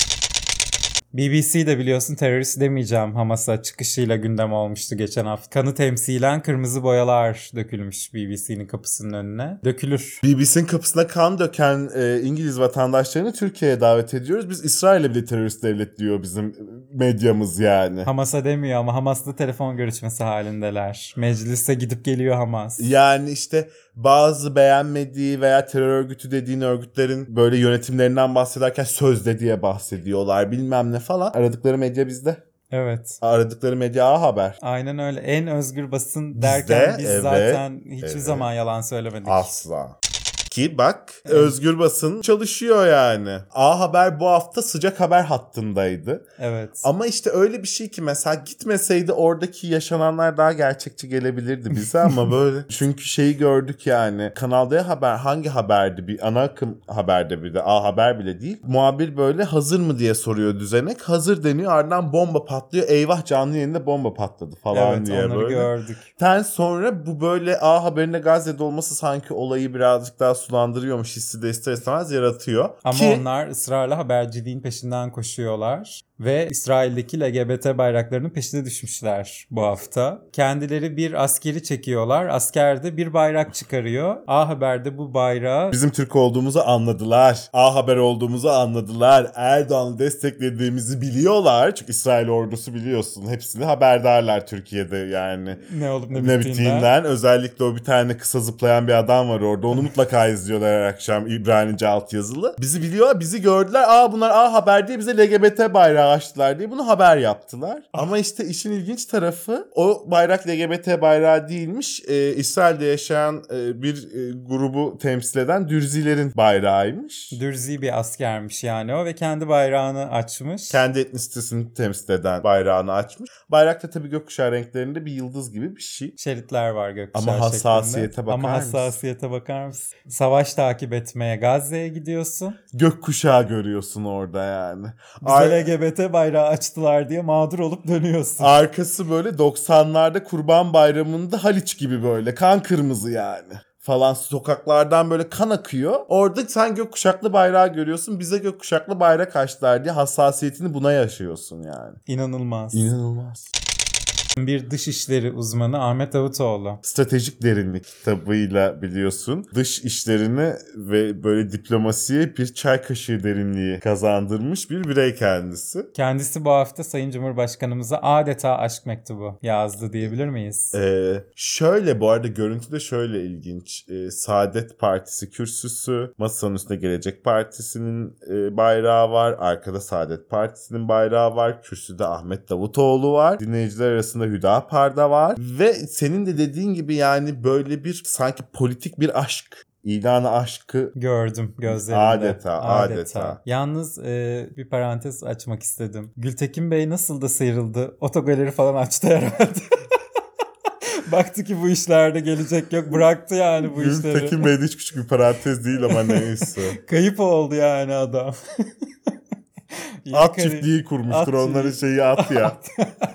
S3: BBC de biliyorsun terörist demeyeceğim Hamas'a çıkışıyla gündem olmuştu geçen hafta. Kanı temsilen kırmızı boyalar dökülmüş BBC'nin kapısının önüne. Dökülür.
S4: BBC'nin kapısına kan döken e, İngiliz vatandaşlarını Türkiye'ye davet ediyoruz. Biz İsrail'e bile terörist devlet diyor bizim e, medyamız yani.
S3: Hamas'a demiyor ama Hamas'la telefon görüşmesi halindeler. Meclise gidip geliyor Hamas.
S4: Yani işte bazı beğenmediği veya terör örgütü dediğin örgütlerin böyle yönetimlerinden bahsederken sözde diye bahsediyorlar bilmem ne falan. Aradıkları medya bizde.
S3: Evet.
S4: Aradıkları medya A Haber.
S3: Aynen öyle. En özgür basın
S4: Biz
S3: derken
S4: de,
S3: biz
S4: evet,
S3: zaten hiçbir
S4: evet.
S3: zaman yalan söylemedik.
S4: Asla. Ki bak özgür basın çalışıyor yani. A Haber bu hafta sıcak haber hattındaydı.
S3: Evet.
S4: Ama işte öyle bir şey ki mesela gitmeseydi oradaki yaşananlar daha gerçekçi gelebilirdi bize ama böyle. Çünkü şeyi gördük yani. Kanal D haber hangi haberdi? Bir ana akım haberde bir de A haber bile değil. Muhabir böyle hazır mı diye soruyor düzenek. Hazır deniyor ardından bomba patlıyor. Eyvah canlı yayında bomba patladı falan
S3: evet
S4: diye
S3: onları
S4: böyle.
S3: gördük.
S4: Ten sonra bu böyle A haberinde Gazze'de olması sanki olayı birazcık daha sulandırıyormuş hissi de ister istemez yaratıyor.
S3: Ama
S4: Ki-
S3: onlar ısrarla haberciliğin peşinden koşuyorlar ve İsrail'deki LGBT bayraklarının peşine düşmüşler bu hafta. Kendileri bir askeri çekiyorlar. Asker de bir bayrak çıkarıyor. A Haber'de bu bayrağı
S4: Bizim Türk olduğumuzu anladılar. A Haber olduğumuzu anladılar. Erdoğan'ı desteklediğimizi biliyorlar. Çünkü İsrail ordusu biliyorsun. Hepsini haberdarlar Türkiye'de yani.
S3: ne olup ne,
S4: Ne
S3: bittiğinden.
S4: bittiğinden. Özellikle o bir tane kısa zıplayan bir adam var orada. Onu mutlaka izliyorlar her akşam İbranice altyazılı. Bizi biliyorlar, bizi gördüler. Aa bunlar A Haber diye bize LGBT bayrağı açtılar diye bunu haber yaptılar. Ama işte işin ilginç tarafı o bayrak LGBT bayrağı değilmiş. Ee, İsrail'de yaşayan e, bir e, grubu temsil eden Dürzilerin bayrağıymış.
S3: Dürzi bir askermiş yani o ve kendi bayrağını açmış.
S4: kendi etnisitesini temsil eden bayrağını açmış. Bayrakta tabii gökkuşağı renklerinde bir yıldız gibi bir şey.
S3: Şeritler var gökkuşağı
S4: Ama hassasiyete
S3: şeklinde.
S4: bakar
S3: Ama
S4: mısın?
S3: hassasiyete bakar mısın? Savaş takip etmeye Gazze'ye gidiyorsun.
S4: gökkuşağı görüyorsun orada yani.
S3: Biz
S4: Ay-
S3: LGBT TRT bayrağı açtılar diye mağdur olup dönüyorsun.
S4: Arkası böyle 90'larda Kurban Bayramı'nda Haliç gibi böyle kan kırmızı yani falan sokaklardan böyle kan akıyor. Orada sen gökkuşaklı bayrağı görüyorsun. Bize gökkuşaklı bayrak açtılar diye hassasiyetini buna yaşıyorsun yani.
S3: İnanılmaz.
S4: İnanılmaz.
S3: bir dışişleri uzmanı Ahmet Davutoğlu.
S4: Stratejik Derinlik kitabıyla biliyorsun dış işlerini ve böyle diplomasiye bir çay kaşığı derinliği kazandırmış bir birey kendisi.
S3: Kendisi bu hafta Sayın Cumhurbaşkanımıza adeta aşk mektubu yazdı diyebilir miyiz?
S4: Ee, şöyle bu arada görüntü de şöyle ilginç. Ee, Saadet Partisi kürsüsü, masanın üstünde Gelecek Partisi'nin e, bayrağı var. Arkada Saadet Partisi'nin bayrağı var. Kürsüde Ahmet Davutoğlu var. Dinleyiciler arasında Hüdapar'da var. Ve senin de dediğin gibi yani böyle bir sanki politik bir aşk. İlanı aşkı
S3: Gördüm gözlerinde.
S4: Adeta, adeta.
S3: Yalnız e, bir parantez açmak istedim. Gültekin Bey nasıl da sıyrıldı? Otogaleri falan açtı herhalde. Baktı ki bu işlerde gelecek yok. Bıraktı yani bu işleri.
S4: Gültekin Bey'de hiç küçük bir parantez değil ama neyse.
S3: Kayıp oldu yani adam. Yeni
S4: At
S3: kari-
S4: çiftliği kurmuştur
S3: At
S4: onların
S3: çiftliği.
S4: şeyi at ya.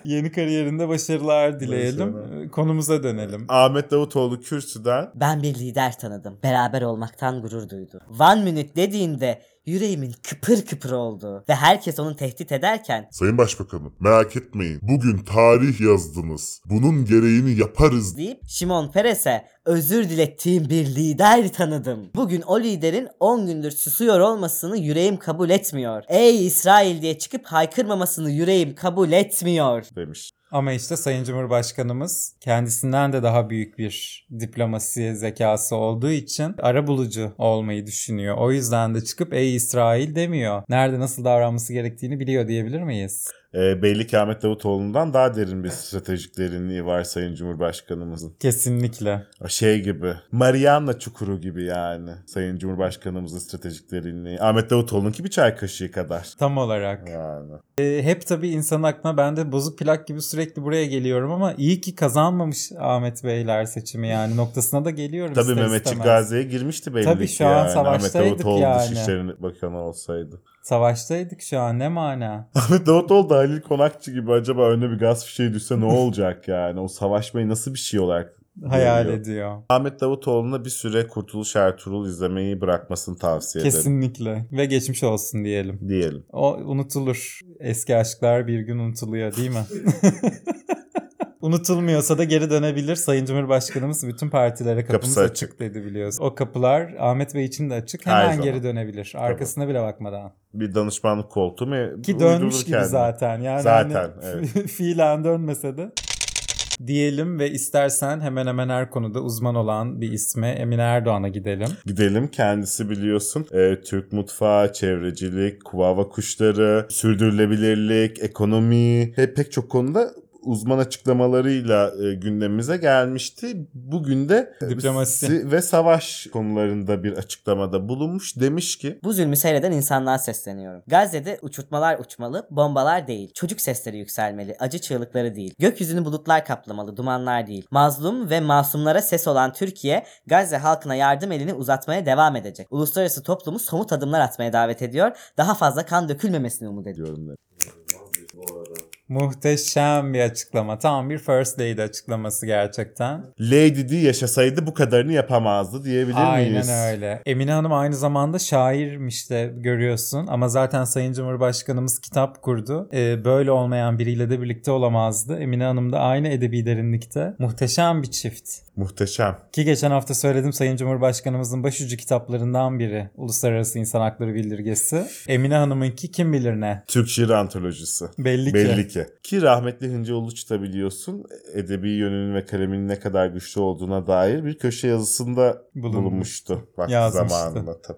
S3: Yeni kariyerinde başarılar dileyelim.
S4: Başarılar.
S3: E, Konumuza dönelim.
S4: Ahmet Davutoğlu kürsüden
S5: Ben bir lider tanıdım. Beraber olmaktan gurur duydu. One minute dediğinde yüreğimin kıpır kıpır olduğu ve herkes onu tehdit ederken
S7: Sayın Başbakanım merak etmeyin. Bugün tarih yazdınız. Bunun gereğini yaparız
S5: deyip Şimon Peres'e özür dilettiğim bir lider tanıdım. Bugün o liderin 10 gündür susuyor olmasını yüreğim kabul etmiyor. Ey İsrail diye çıkıp haykırmamasını yüreğim kabul etmiyor.
S4: demiş.
S3: Ama işte Sayın Cumhurbaşkanımız kendisinden de daha büyük bir diplomasi zekası olduğu için ara bulucu olmayı düşünüyor. O yüzden de çıkıp ey İsrail demiyor. Nerede nasıl davranması gerektiğini biliyor diyebilir miyiz?
S4: E, belli ki Ahmet Davutoğlu'ndan daha derin bir stratejik derinliği var Sayın Cumhurbaşkanımızın.
S3: Kesinlikle.
S4: Şey gibi, Mariana Çukuru gibi yani Sayın Cumhurbaşkanımızın stratejik derinliği. Ahmet Davutoğlu'nunki bir çay kaşığı kadar.
S3: Tam olarak.
S4: Yani.
S3: E, hep tabii insan aklına ben de bozuk plak gibi sürekli buraya geliyorum ama iyi ki kazanmamış Ahmet Beyler seçimi yani noktasına da geliyorum.
S4: Tabii
S3: ister
S4: Mehmetçik
S3: istemez.
S4: Gazi'ye girmişti belli
S3: Tabii
S4: ki
S3: şu an
S4: yani. Ahmet
S3: savaştaydık
S4: Davutoğlu
S3: yani.
S4: Dışişleri Bakanı olsaydı.
S3: Savaştaydık şu an ne mana.
S4: Ahmet Davutoğlu da Halil Konakçı gibi acaba önüne bir gaz fişeği düşse ne olacak yani? O savaşmayı nasıl bir şey olarak
S3: Hayal
S4: görüyor?
S3: ediyor.
S4: Ahmet Davutoğlu'na bir süre Kurtuluş Ertuğrul izlemeyi bırakmasını tavsiye ederim.
S3: Kesinlikle ve geçmiş olsun diyelim.
S4: Diyelim.
S3: O unutulur. Eski aşklar bir gün unutuluyor değil mi? Unutulmuyorsa da geri dönebilir. Sayın Cumhurbaşkanımız bütün partilere kapımız
S4: Kapısı
S3: açık.
S4: açık.
S3: dedi biliyorsun. O kapılar Ahmet Bey için de açık.
S4: Her
S3: Hemen
S4: zaman.
S3: geri dönebilir. Arkasına bile bakmadan.
S4: bir danışmanlık koltuğu mu?
S3: Ki
S4: uydurur
S3: dönmüş gibi
S4: kendini.
S3: zaten. Yani
S4: Zaten,
S3: hani
S4: evet.
S3: fiilen dönmese de diyelim ve istersen hemen hemen her konuda uzman olan bir isme Emine Erdoğan'a gidelim.
S4: Gidelim kendisi biliyorsun e, Türk mutfağı, çevrecilik, kuvava kuşları, sürdürülebilirlik, ekonomi e, pek çok konuda uzman açıklamalarıyla e, gündemimize gelmişti. Bugün de e,
S3: Diplomasi.
S4: si- ve savaş konularında bir açıklamada bulunmuş. Demiş ki
S5: Bu zulmü seyreden insanlığa sesleniyorum. Gazze'de uçurtmalar uçmalı, bombalar değil. Çocuk sesleri yükselmeli, acı çığlıkları değil. Gökyüzünü bulutlar kaplamalı, dumanlar değil. Mazlum ve masumlara ses olan Türkiye, Gazze halkına yardım elini uzatmaya devam edecek. Uluslararası toplumu somut adımlar atmaya davet ediyor. Daha fazla kan dökülmemesini umut ediyor.
S4: diyorum ben.
S3: Muhteşem bir açıklama. Tam bir First Lady açıklaması gerçekten.
S4: Lady Di yaşasaydı bu kadarını yapamazdı diyebilir miyiz?
S3: Aynen öyle. Emine Hanım aynı zamanda şairmiş de görüyorsun ama zaten Sayın Cumhurbaşkanımız kitap kurdu. Ee, böyle olmayan biriyle de birlikte olamazdı. Emine Hanım da aynı edebi derinlikte. Muhteşem bir çift.
S4: Muhteşem.
S3: Ki geçen hafta söyledim Sayın Cumhurbaşkanımızın başucu kitaplarından biri Uluslararası İnsan Hakları Bildirgesi. Emine Hanım'ınki kim bilir ne.
S4: Türk şiir antolojisi.
S3: Belli ki.
S4: Belli ki. Ki rahmetli Hınca Uluç da biliyorsun edebi yönünün ve kaleminin ne kadar güçlü olduğuna dair bir köşe yazısında
S3: Bulunmuş.
S4: bulunmuştu. Vakti
S3: Yazmıştı.
S4: zamanında tabii.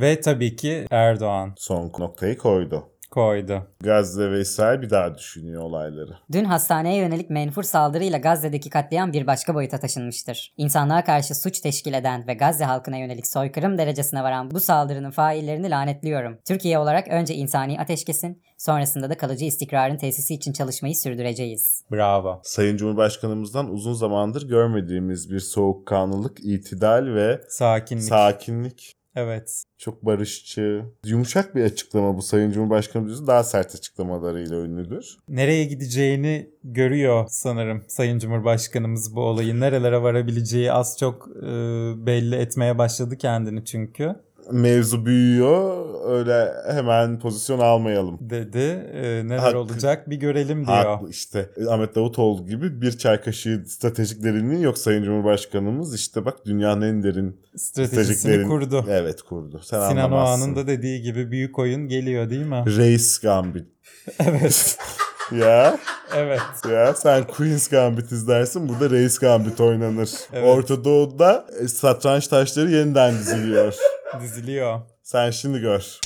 S3: Ve tabii ki Erdoğan
S4: Son noktayı koydu.
S3: koydu.
S4: Gazze ve İsrail bir daha düşünüyor olayları.
S1: Dün hastaneye yönelik menfur saldırıyla Gazze'deki katliam bir başka boyuta taşınmıştır. İnsanlığa karşı suç teşkil eden ve Gazze halkına yönelik soykırım derecesine varan bu saldırının faillerini lanetliyorum. Türkiye olarak önce insani ateşkesin, sonrasında da kalıcı istikrarın tesisi için çalışmayı sürdüreceğiz.
S3: Bravo.
S4: Sayın Cumhurbaşkanımızdan uzun zamandır görmediğimiz bir soğukkanlılık, itidal ve
S3: Sakinlik.
S4: sakinlik
S3: Evet.
S4: Çok barışçı. Yumuşak bir açıklama bu Sayın Cumhurbaşkanımız. Daha sert açıklamalarıyla ünlüdür.
S3: Nereye gideceğini görüyor sanırım Sayın Cumhurbaşkanımız bu olayı. Nerelere varabileceği az çok e, belli etmeye başladı kendini çünkü.
S4: Mevzu büyüyor. Öyle hemen pozisyon almayalım.
S3: Dedi e, neler
S4: Haklı.
S3: olacak bir görelim diyor.
S4: Haklı işte. e, Ahmet Davutoğlu gibi bir çay kaşığı stratejik derinliği yok Sayın Cumhurbaşkanımız. İşte bak dünyanın en derin
S3: Stratejisini
S4: derin-
S3: kurdu.
S4: Evet kurdu. Sen
S3: Sinan
S4: anlamazsın.
S3: Oğan'ın da dediği gibi büyük oyun geliyor değil mi?
S4: Reis Gambit.
S3: evet.
S4: Ya
S3: Evet.
S4: ya sen Queen's Gambit izlersin burada Reis Gambit oynanır.
S3: Evet.
S4: Orta Doğu'da e, satranç taşları yeniden diziliyor.
S3: Diziliyor.
S4: sen şimdi gör.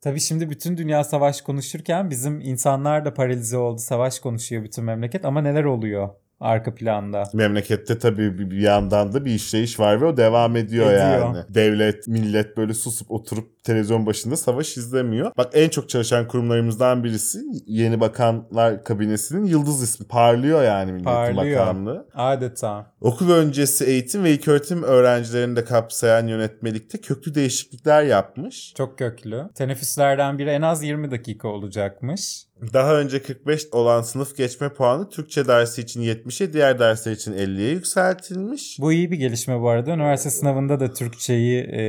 S3: Tabii şimdi bütün dünya savaş konuşurken bizim insanlar da paralize oldu. Savaş konuşuyor bütün memleket ama neler oluyor arka planda?
S4: Memlekette tabii bir bir yandan da bir işleyiş var ve o devam ediyor,
S3: Ediyor.
S4: yani. Devlet, millet böyle susup oturup televizyon başında savaş izlemiyor. Bak en çok çalışan kurumlarımızdan birisi yeni bakanlar kabinesinin yıldız ismi. Parlıyor yani Milli Eğitim
S3: Parlıyor.
S4: Bakanlığı.
S3: Adeta.
S4: Okul öncesi eğitim ve ilköğretim öğrencilerini de kapsayan yönetmelikte köklü değişiklikler yapmış.
S3: Çok köklü. Teneffüslerden biri en az 20 dakika olacakmış.
S4: Daha önce 45 olan sınıf geçme puanı Türkçe dersi için 70'e, diğer dersler için 50'ye yükseltilmiş.
S3: Bu iyi bir gelişme bu arada. Üniversite sınavında da Türkçeyi e,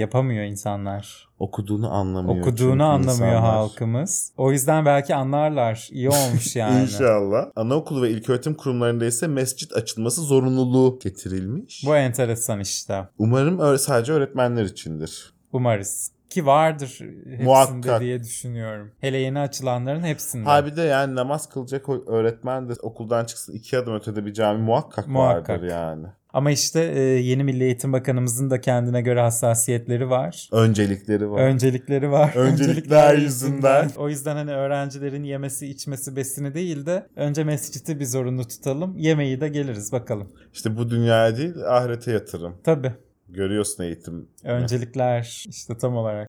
S3: yapamıyor insanlar.
S4: Okuduğunu anlamıyor. çünkü
S3: Okuduğunu anlamıyor
S4: insanlar.
S3: halkımız. O yüzden belki anlarlar. İyi olmuş yani.
S4: İnşallah. Anaokulu ve ilköğretim kurumlarında ise mescit açılması zorunluluğu getirilmiş.
S3: Bu enteresan işte.
S4: Umarım ö- sadece öğretmenler içindir.
S3: Umarız. Ki vardır hepsinde
S4: Muhakkak.
S3: diye düşünüyorum. Hele yeni açılanların hepsinde.
S4: Ha bir de yani namaz kılacak o- öğretmen de okuldan çıksın iki adım ötede bir cami muhakkak,
S3: Muhakkak.
S4: vardır yani.
S3: Ama işte e, yeni Milli Eğitim Bakanımızın da kendine göre hassasiyetleri var.
S4: Öncelikleri var.
S3: Öncelikleri var.
S4: Öncelikler yüzünden.
S3: O yüzden hani öğrencilerin yemesi içmesi besini değil de önce mescidi bir zorunlu tutalım. Yemeği de geliriz bakalım.
S4: İşte bu dünyaya değil ahirete yatırım.
S3: Tabii.
S4: Görüyorsun eğitim.
S3: Öncelikler işte tam olarak.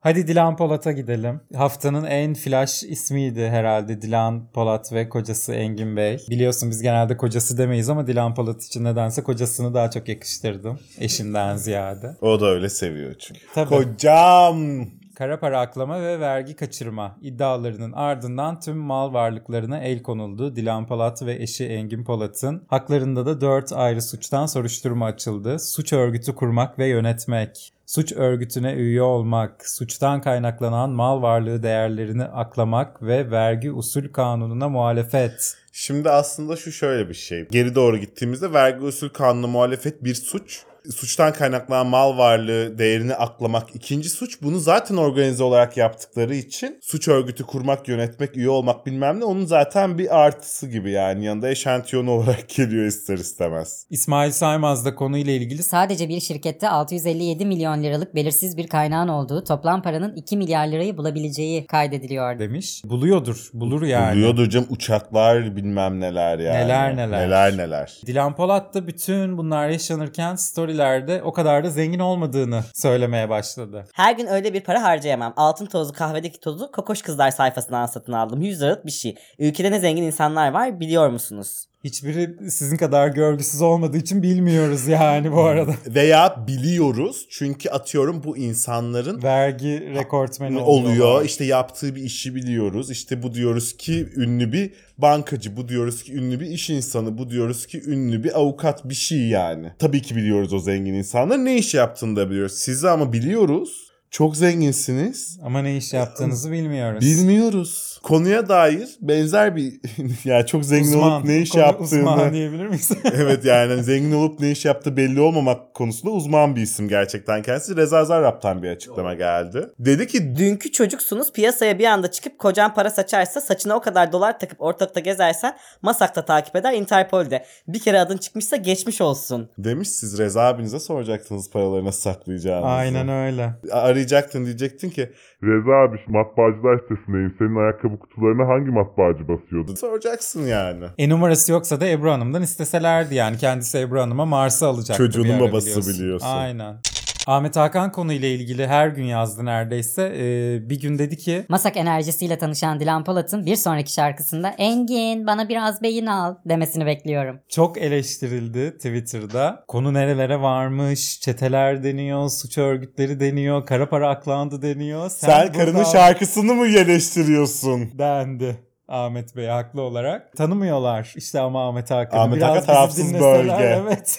S3: Hadi Dilan Polat'a gidelim. Haftanın en flash ismiydi herhalde Dilan Polat ve kocası Engin Bey. Biliyorsun biz genelde kocası demeyiz ama Dilan Polat için nedense kocasını daha çok yakıştırdım. Eşinden ziyade.
S4: O da öyle seviyor çünkü.
S3: Tabii.
S4: Kocam.
S3: Kara para aklama ve vergi kaçırma iddialarının ardından tüm mal varlıklarına el konuldu. Dilan Polat ve eşi Engin Polat'ın haklarında da 4 ayrı suçtan soruşturma açıldı. Suç örgütü kurmak ve yönetmek, suç örgütüne üye olmak, suçtan kaynaklanan mal varlığı değerlerini aklamak ve vergi usul kanununa muhalefet.
S4: Şimdi aslında şu şöyle bir şey. Geri doğru gittiğimizde vergi usul kanunu muhalefet bir suç. Suçtan kaynaklanan mal varlığı değerini aklamak ikinci suç. Bunu zaten organize olarak yaptıkları için suç örgütü kurmak, yönetmek, üye olmak bilmem ne onun zaten bir artısı gibi yani. Yanında eşantiyon olarak geliyor ister istemez.
S3: İsmail Saymaz da konuyla ilgili
S1: Sadece bir şirkette 657 milyon liralık belirsiz bir kaynağın olduğu toplam paranın 2 milyar lirayı bulabileceği kaydediliyor.
S3: demiş. Buluyordur, bulur yani.
S4: Buluyordu hocam uçaklar bilmem neler yani.
S3: Neler neler.
S4: Neler neler.
S3: Dilan Polat da bütün bunlar yaşanırken storylerde o kadar da zengin olmadığını söylemeye başladı.
S5: Her gün öyle bir para harcayamam. Altın tozlu kahvedeki tozu kokoş kızlar sayfasından satın aldım. 100 liralık bir şey. Ülkede ne zengin insanlar var biliyor musunuz?
S3: Hiçbiri sizin kadar görgüsüz olmadığı için bilmiyoruz yani bu arada.
S4: Veya biliyoruz çünkü atıyorum bu insanların
S3: Vergi rekortmeni
S4: Hani oluyor.
S3: oluyorlar.
S4: işte yaptığı bir işi biliyoruz. İşte bu diyoruz ki ünlü bir bankacı, bu diyoruz ki ünlü bir iş insanı, bu diyoruz ki ünlü bir avukat bir şey yani. Tabii ki biliyoruz o zengin insanlar ne iş yaptığını da biliyoruz. Sizi ama biliyoruz. Çok zenginsiniz.
S3: Ama ne iş yaptığınızı bilmiyoruz.
S4: Bilmiyoruz. Konuya dair benzer bir yani çok zengin olup ne iş
S3: konu
S4: yaptığını
S3: Uzman diyebilir miyiz?
S4: evet yani hani zengin olup ne iş yaptığı belli olmamak konusunda uzman bir isim gerçekten kendisi. Reza Zarrab'tan bir açıklama geldi. Dedi ki
S5: Dünkü çocuksunuz piyasaya bir anda çıkıp kocan para saçarsa saçına o kadar dolar takıp ortalıkta gezersen masakta takip eder Interpol'de. Bir kere adın çıkmışsa geçmiş olsun.
S4: Demiş siz Reza abinize soracaktınız paraları nasıl saklayacağınızı.
S3: Aynen öyle.
S4: Arayacaktın diyecektin ki
S7: Reza abi şu matbaacılar sitesindeyim. Senin ayakkabı kutularına hangi matbaacı basıyordu?
S4: soracaksın yani.
S3: E numarası yoksa da Ebru Hanım'dan isteselerdi yani. Kendisi Ebru Hanım'a Mars'ı alacaktı. bir
S4: Çocuğunun
S3: ara
S4: babası biliyorsun.
S3: Aynen. Ahmet Hakan konuyla ilgili her gün yazdı neredeyse. Ee, bir gün dedi ki
S1: Masak enerjisiyle tanışan Dilan Polat'ın bir sonraki şarkısında Engin bana biraz beyin al demesini bekliyorum.
S3: çok eleştirildi Twitter'da. Konu nerelere varmış, çeteler deniyor, suç örgütleri deniyor, kara para aklandı deniyor.
S4: Sen
S3: buradan-
S4: karının şarkısını mı eleştiriyorsun?
S3: dendi. Ahmet Bey haklı olarak. Tanımıyorlar işte ama Ahmet Hakan'ı.
S4: Ahmet
S3: Biraz
S4: Hakan
S3: bizi
S4: tarafsız
S3: dinleseler,
S4: bölge.
S3: Evet.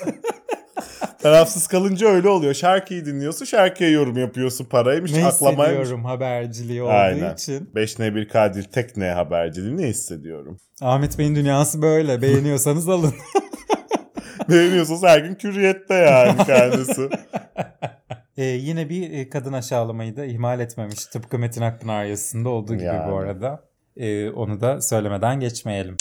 S4: Tarafsız kalınca öyle oluyor. Şarkıyı dinliyorsun, şarkıya yorum yapıyorsun. Paraymış,
S3: ne
S4: aklamaymış.
S3: hissediyorum haberciliği olduğu
S4: Aynen.
S3: için.
S4: 5N1 Kadir tek ne haberciliği ne hissediyorum?
S3: Ahmet Bey'in dünyası böyle. Beğeniyorsanız alın.
S4: Beğeniyorsanız her gün küriyette yani kendisi.
S3: Ee, yine bir e, kadın aşağılamayı da ihmal etmemiş. Tıpkı Metin Akpınar yazısında olduğu gibi
S4: Yani.
S3: bu arada. Ee, onu da söylemeden geçmeyelim.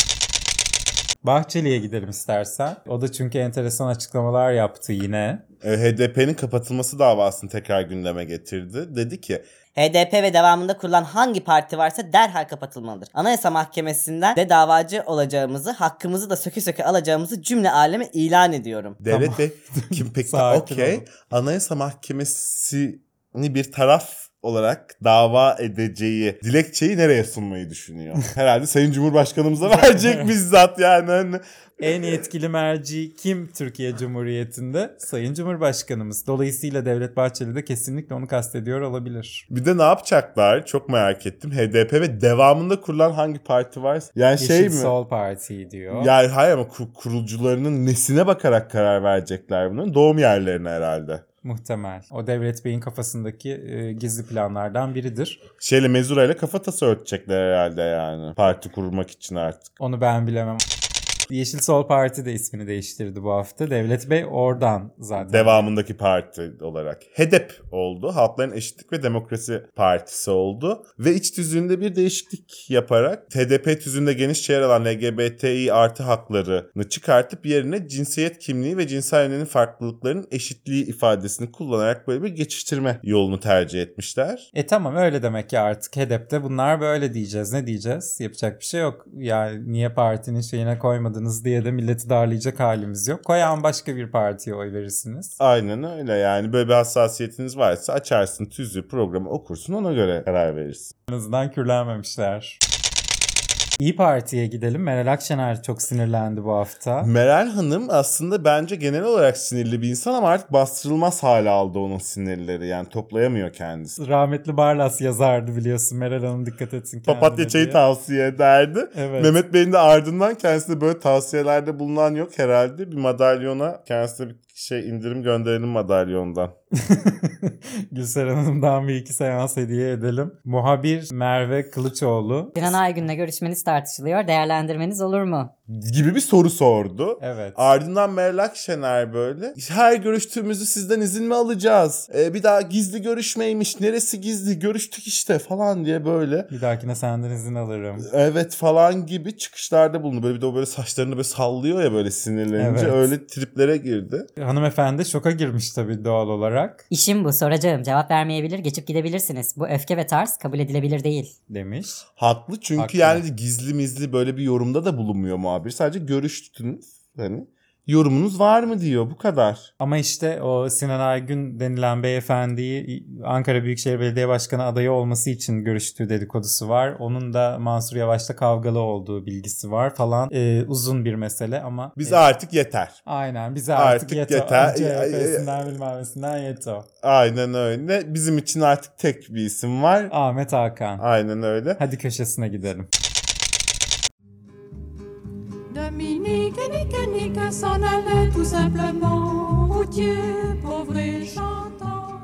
S3: Bahçeli'ye gidelim istersen. O da çünkü enteresan açıklamalar yaptı yine.
S4: E, HDP'nin kapatılması davasını tekrar gündeme getirdi. Dedi ki
S5: HDP ve devamında kurulan hangi parti varsa derhal kapatılmalıdır. Anayasa Mahkemesi'nden de davacı olacağımızı, hakkımızı da söke söke alacağımızı cümle aleme ilan ediyorum.
S4: devlet
S3: Tamam.
S4: ve kim pek de
S3: Sakin
S4: okey
S3: olun.
S4: anayasa mahkemesini bir taraf olarak dava edeceği dilekçeyi nereye sunmayı düşünüyor? Herhalde Sayın Cumhurbaşkanımıza verecek bizzat yani. Hani
S3: En yetkili merci kim Türkiye Cumhuriyeti'nde? Sayın Cumhurbaşkanımız. Dolayısıyla Devlet Bahçeli de kesinlikle onu kastediyor olabilir.
S4: Bir de ne yapacaklar çok merak ettim. HDP ve devamında kurulan hangi parti varsa. Yani şey
S3: Yeşil
S4: mi?
S3: Sol Parti diyor.
S4: Yani hayır ama kur- kurulcularının nesine bakarak karar verecekler bunun? Doğum yerlerine herhalde.
S3: Muhtemel. O Devlet Bey'in kafasındaki e, gizli planlardan biridir.
S4: Şeyle mezurayla kafatası örtecekler herhalde yani. Parti kurmak için artık.
S3: Onu ben bilemem. Yeşil Sol Parti de ismini değiştirdi bu hafta. Devlet Bey oradan zaten.
S4: Devamındaki parti olarak. HEDEP oldu. Halkların Eşitlik ve Demokrasi Partisi oldu. Ve iç tüzüğünde bir değişiklik yaparak HDP tüzüğünde genişçe yer alan LGBTİ artı haklarını çıkartıp yerine cinsiyet kimliği ve cinsel yönelin farklılıklarının eşitliği ifadesini kullanarak böyle bir geçiştirme yolunu tercih etmişler.
S3: E tamam öyle demek ki artık HEDEP'te bunlar böyle diyeceğiz. Ne diyeceğiz? Yapacak bir şey yok. Yani niye partinin şeyine koymadınız diye de milleti darlayacak halimiz yok. Koyan başka bir partiye oy verirsiniz.
S4: Aynen öyle yani böyle bir hassasiyetiniz varsa açarsın tüzüğü programı okursun ona göre karar verirsin.
S3: En azından kürlenmemişler. İyi Parti'ye gidelim. Meral Akşener çok sinirlendi bu hafta.
S4: Meral Hanım aslında bence genel olarak sinirli bir insan ama artık bastırılmaz hale aldı onun sinirleri. Yani toplayamıyor kendisi.
S3: Rahmetli Barlas yazardı biliyorsun. Meral Hanım dikkat etsin kendine
S4: Papatya çayı
S3: diye.
S4: tavsiye ederdi.
S3: Evet.
S4: Mehmet Bey'in de ardından kendisine böyle tavsiyelerde bulunan yok herhalde. Bir madalyona kendisine bir şey indirim gönderelim madalyondan.
S3: Gülseren Hanım'dan bir iki seans hediye edelim. Muhabir Merve Kılıçoğlu.
S1: Sinan Aygün'le görüşmeniz tartışılıyor. Değerlendirmeniz olur mu?
S4: Gibi bir soru sordu.
S3: Evet.
S4: Ardından Meral Akşener böyle her görüştüğümüzü sizden izin mi alacağız? Ee, bir daha gizli görüşmeymiş neresi gizli görüştük işte falan diye böyle
S3: Bir dahakine senden izin alırım.
S4: Evet falan gibi çıkışlarda bulundu. Böyle bir de o böyle saçlarını böyle sallıyor ya böyle sinirlenince.
S3: Evet.
S4: Öyle triplere girdi.
S3: Hanımefendi şoka girmiş tabii doğal olarak
S1: İşim bu soracağım. Cevap vermeyebilir geçip gidebilirsiniz. Bu öfke ve tarz kabul edilebilir değil.
S3: demiş.
S4: Haklı çünkü
S3: Haklı.
S4: yani gizli mizli böyle bir yorumda da bulunmuyor muhabir. Sadece görüştünüz. Hani yorumunuz var mı diyor bu kadar.
S3: Ama işte o Sinan Aygün denilen beyefendiyi Ankara Büyükşehir Belediye Başkanı adayı olması için görüştüğü dedikodusu var. Onun da Mansur Yavaş'la kavgalı olduğu bilgisi var falan. Ee, uzun bir mesele ama.
S4: Biz
S3: Ee,
S4: artık yeter.
S3: Aynen bize artık,
S4: Artık
S3: yeto.
S4: yeter.
S3: CHP'sinden bilmem nesinden yeto.
S4: Aynen öyle. Bizim için artık tek bir isim var.
S3: Ahmet Hakan.
S4: Aynen öyle.
S3: Hadi köşesine gidelim.
S8: Dominique, Nique, Nique s'en allait tout simplement. Oh Dieu, pauvre et chantant.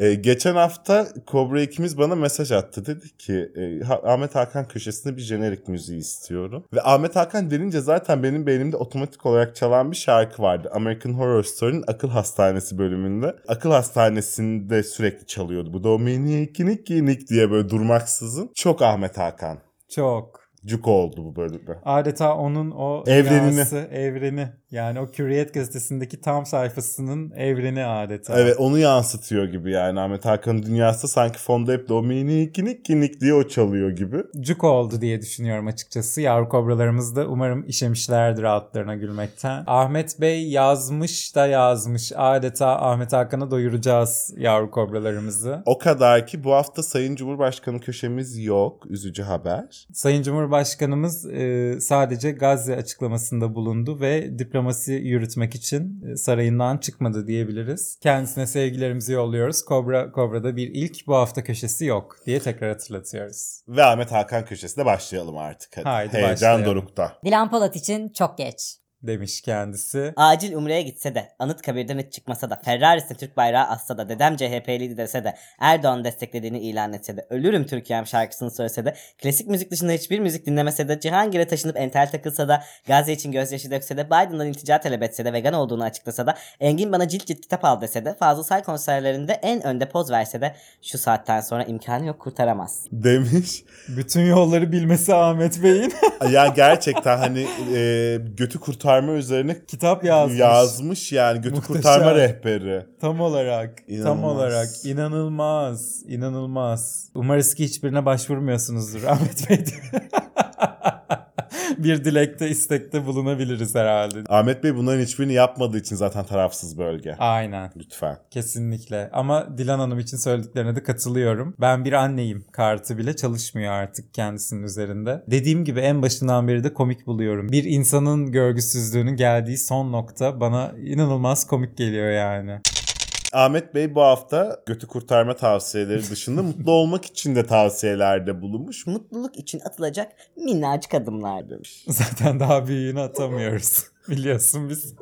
S4: Ee, geçen hafta Kobra ikimiz bana mesaj attı. Dedi ki e, Ha- Ahmet Hakan köşesinde bir jenerik müziği istiyorum. Ve Ahmet Hakan denince zaten benim beynimde otomatik olarak çalan bir şarkı vardı. American Horror Story'nin Akıl Hastanesi bölümünde. Akıl Hastanesi'nde sürekli çalıyordu. Bu Dominik Nick Nick diye böyle durmaksızın. Çok Ahmet Hakan.
S3: Çok.
S4: Cuk oldu bu bölümde.
S3: Adeta onun o
S4: Evrenini.
S3: dünyası, evreni Yani o Hürriyet gazetesindeki tam sayfasının evreni adeta.
S4: Evet onu yansıtıyor gibi yani Ahmet Hakan'ın dünyası sanki fonda hep de o minik minik minik diye o çalıyor gibi.
S3: Cuk oldu diye düşünüyorum açıkçası. Yavru kobralarımız da umarım işemişlerdir altlarına gülmekten. Ahmet Bey yazmış da yazmış. Adeta Ahmet Hakan'a doyuracağız yavru kobralarımızı.
S4: O kadar ki bu hafta Sayın Cumhurbaşkanı köşemiz yok. Üzücü haber.
S3: Sayın Cumhurbaşkanımız e, sadece Gazze açıklamasında bulundu ve diplomasi yürütmek için e, sarayından çıkmadı diyebiliriz. Kendisine sevgilerimizi yolluyoruz. Kobra Kobra'da bir ilk bu hafta köşesi yok diye tekrar hatırlatıyoruz.
S4: Ve Ahmet Hakan köşesine başlayalım artık. Hadi.
S3: Haydi
S4: Heyecan
S3: başlayalım.
S4: dorukta.
S1: Dilan Polat için çok geç.
S3: Demiş kendisi.
S5: Acil Umre'ye gitse de, Anıtkabir'den hiç çıkmasa da, Ferraris'in Türk bayrağı assa da, dedem CHP'liydi dese de, Erdoğan desteklediğini ilan etse de, Ölürüm Türkiye'm şarkısını söylese de, klasik müzik dışında hiçbir müzik dinlemese de, Cihangir'e taşınıp entel takılsa da, Gazze için gözyaşı dökse de, Biden'dan iltica talep etse de, vegan olduğunu açıklasa da, Engin bana cilt cilt kitap al dese de, Fazıl Say konserlerinde en önde poz verse de, şu saatten sonra imkanı yok kurtaramaz.
S4: Demiş.
S3: Bütün yolları bilmesi Ahmet Bey'in.
S4: ya gerçekten hani e, götü kurtarma üzerine
S3: Kitap yazmış.
S4: yazmış yani götü
S3: Muhteşem.
S4: kurtarma rehberi.
S3: Tam olarak. Tam
S4: İnanılmaz.
S3: olarak. inanılmaz. inanılmaz. Umarız ki hiçbirine başvurmuyorsunuzdur Ahmet Bey. diye. bir dilekte istekte bulunabiliriz herhalde.
S4: Ahmet Bey bunların hiçbirini yapmadığı için zaten tarafsız bölge.
S3: Aynen.
S4: Lütfen.
S3: Kesinlikle. Ama Dilan Hanım için söylediklerine de katılıyorum. Ben bir anneyim kartı bile çalışmıyor artık kendisinin üzerinde. Dediğim gibi en başından beri de komik buluyorum. Bir insanın görgüsüzlüğünün geldiği son nokta bana inanılmaz komik geliyor yani.
S4: Ahmet Bey bu hafta götü kurtarma tavsiyeleri dışında mutlu olmak için de tavsiyelerde bulunmuş.
S5: Mutluluk için atılacak minnacık adımlar demiş.
S3: Zaten daha büyüğünü atamıyoruz. Biliyorsun biz.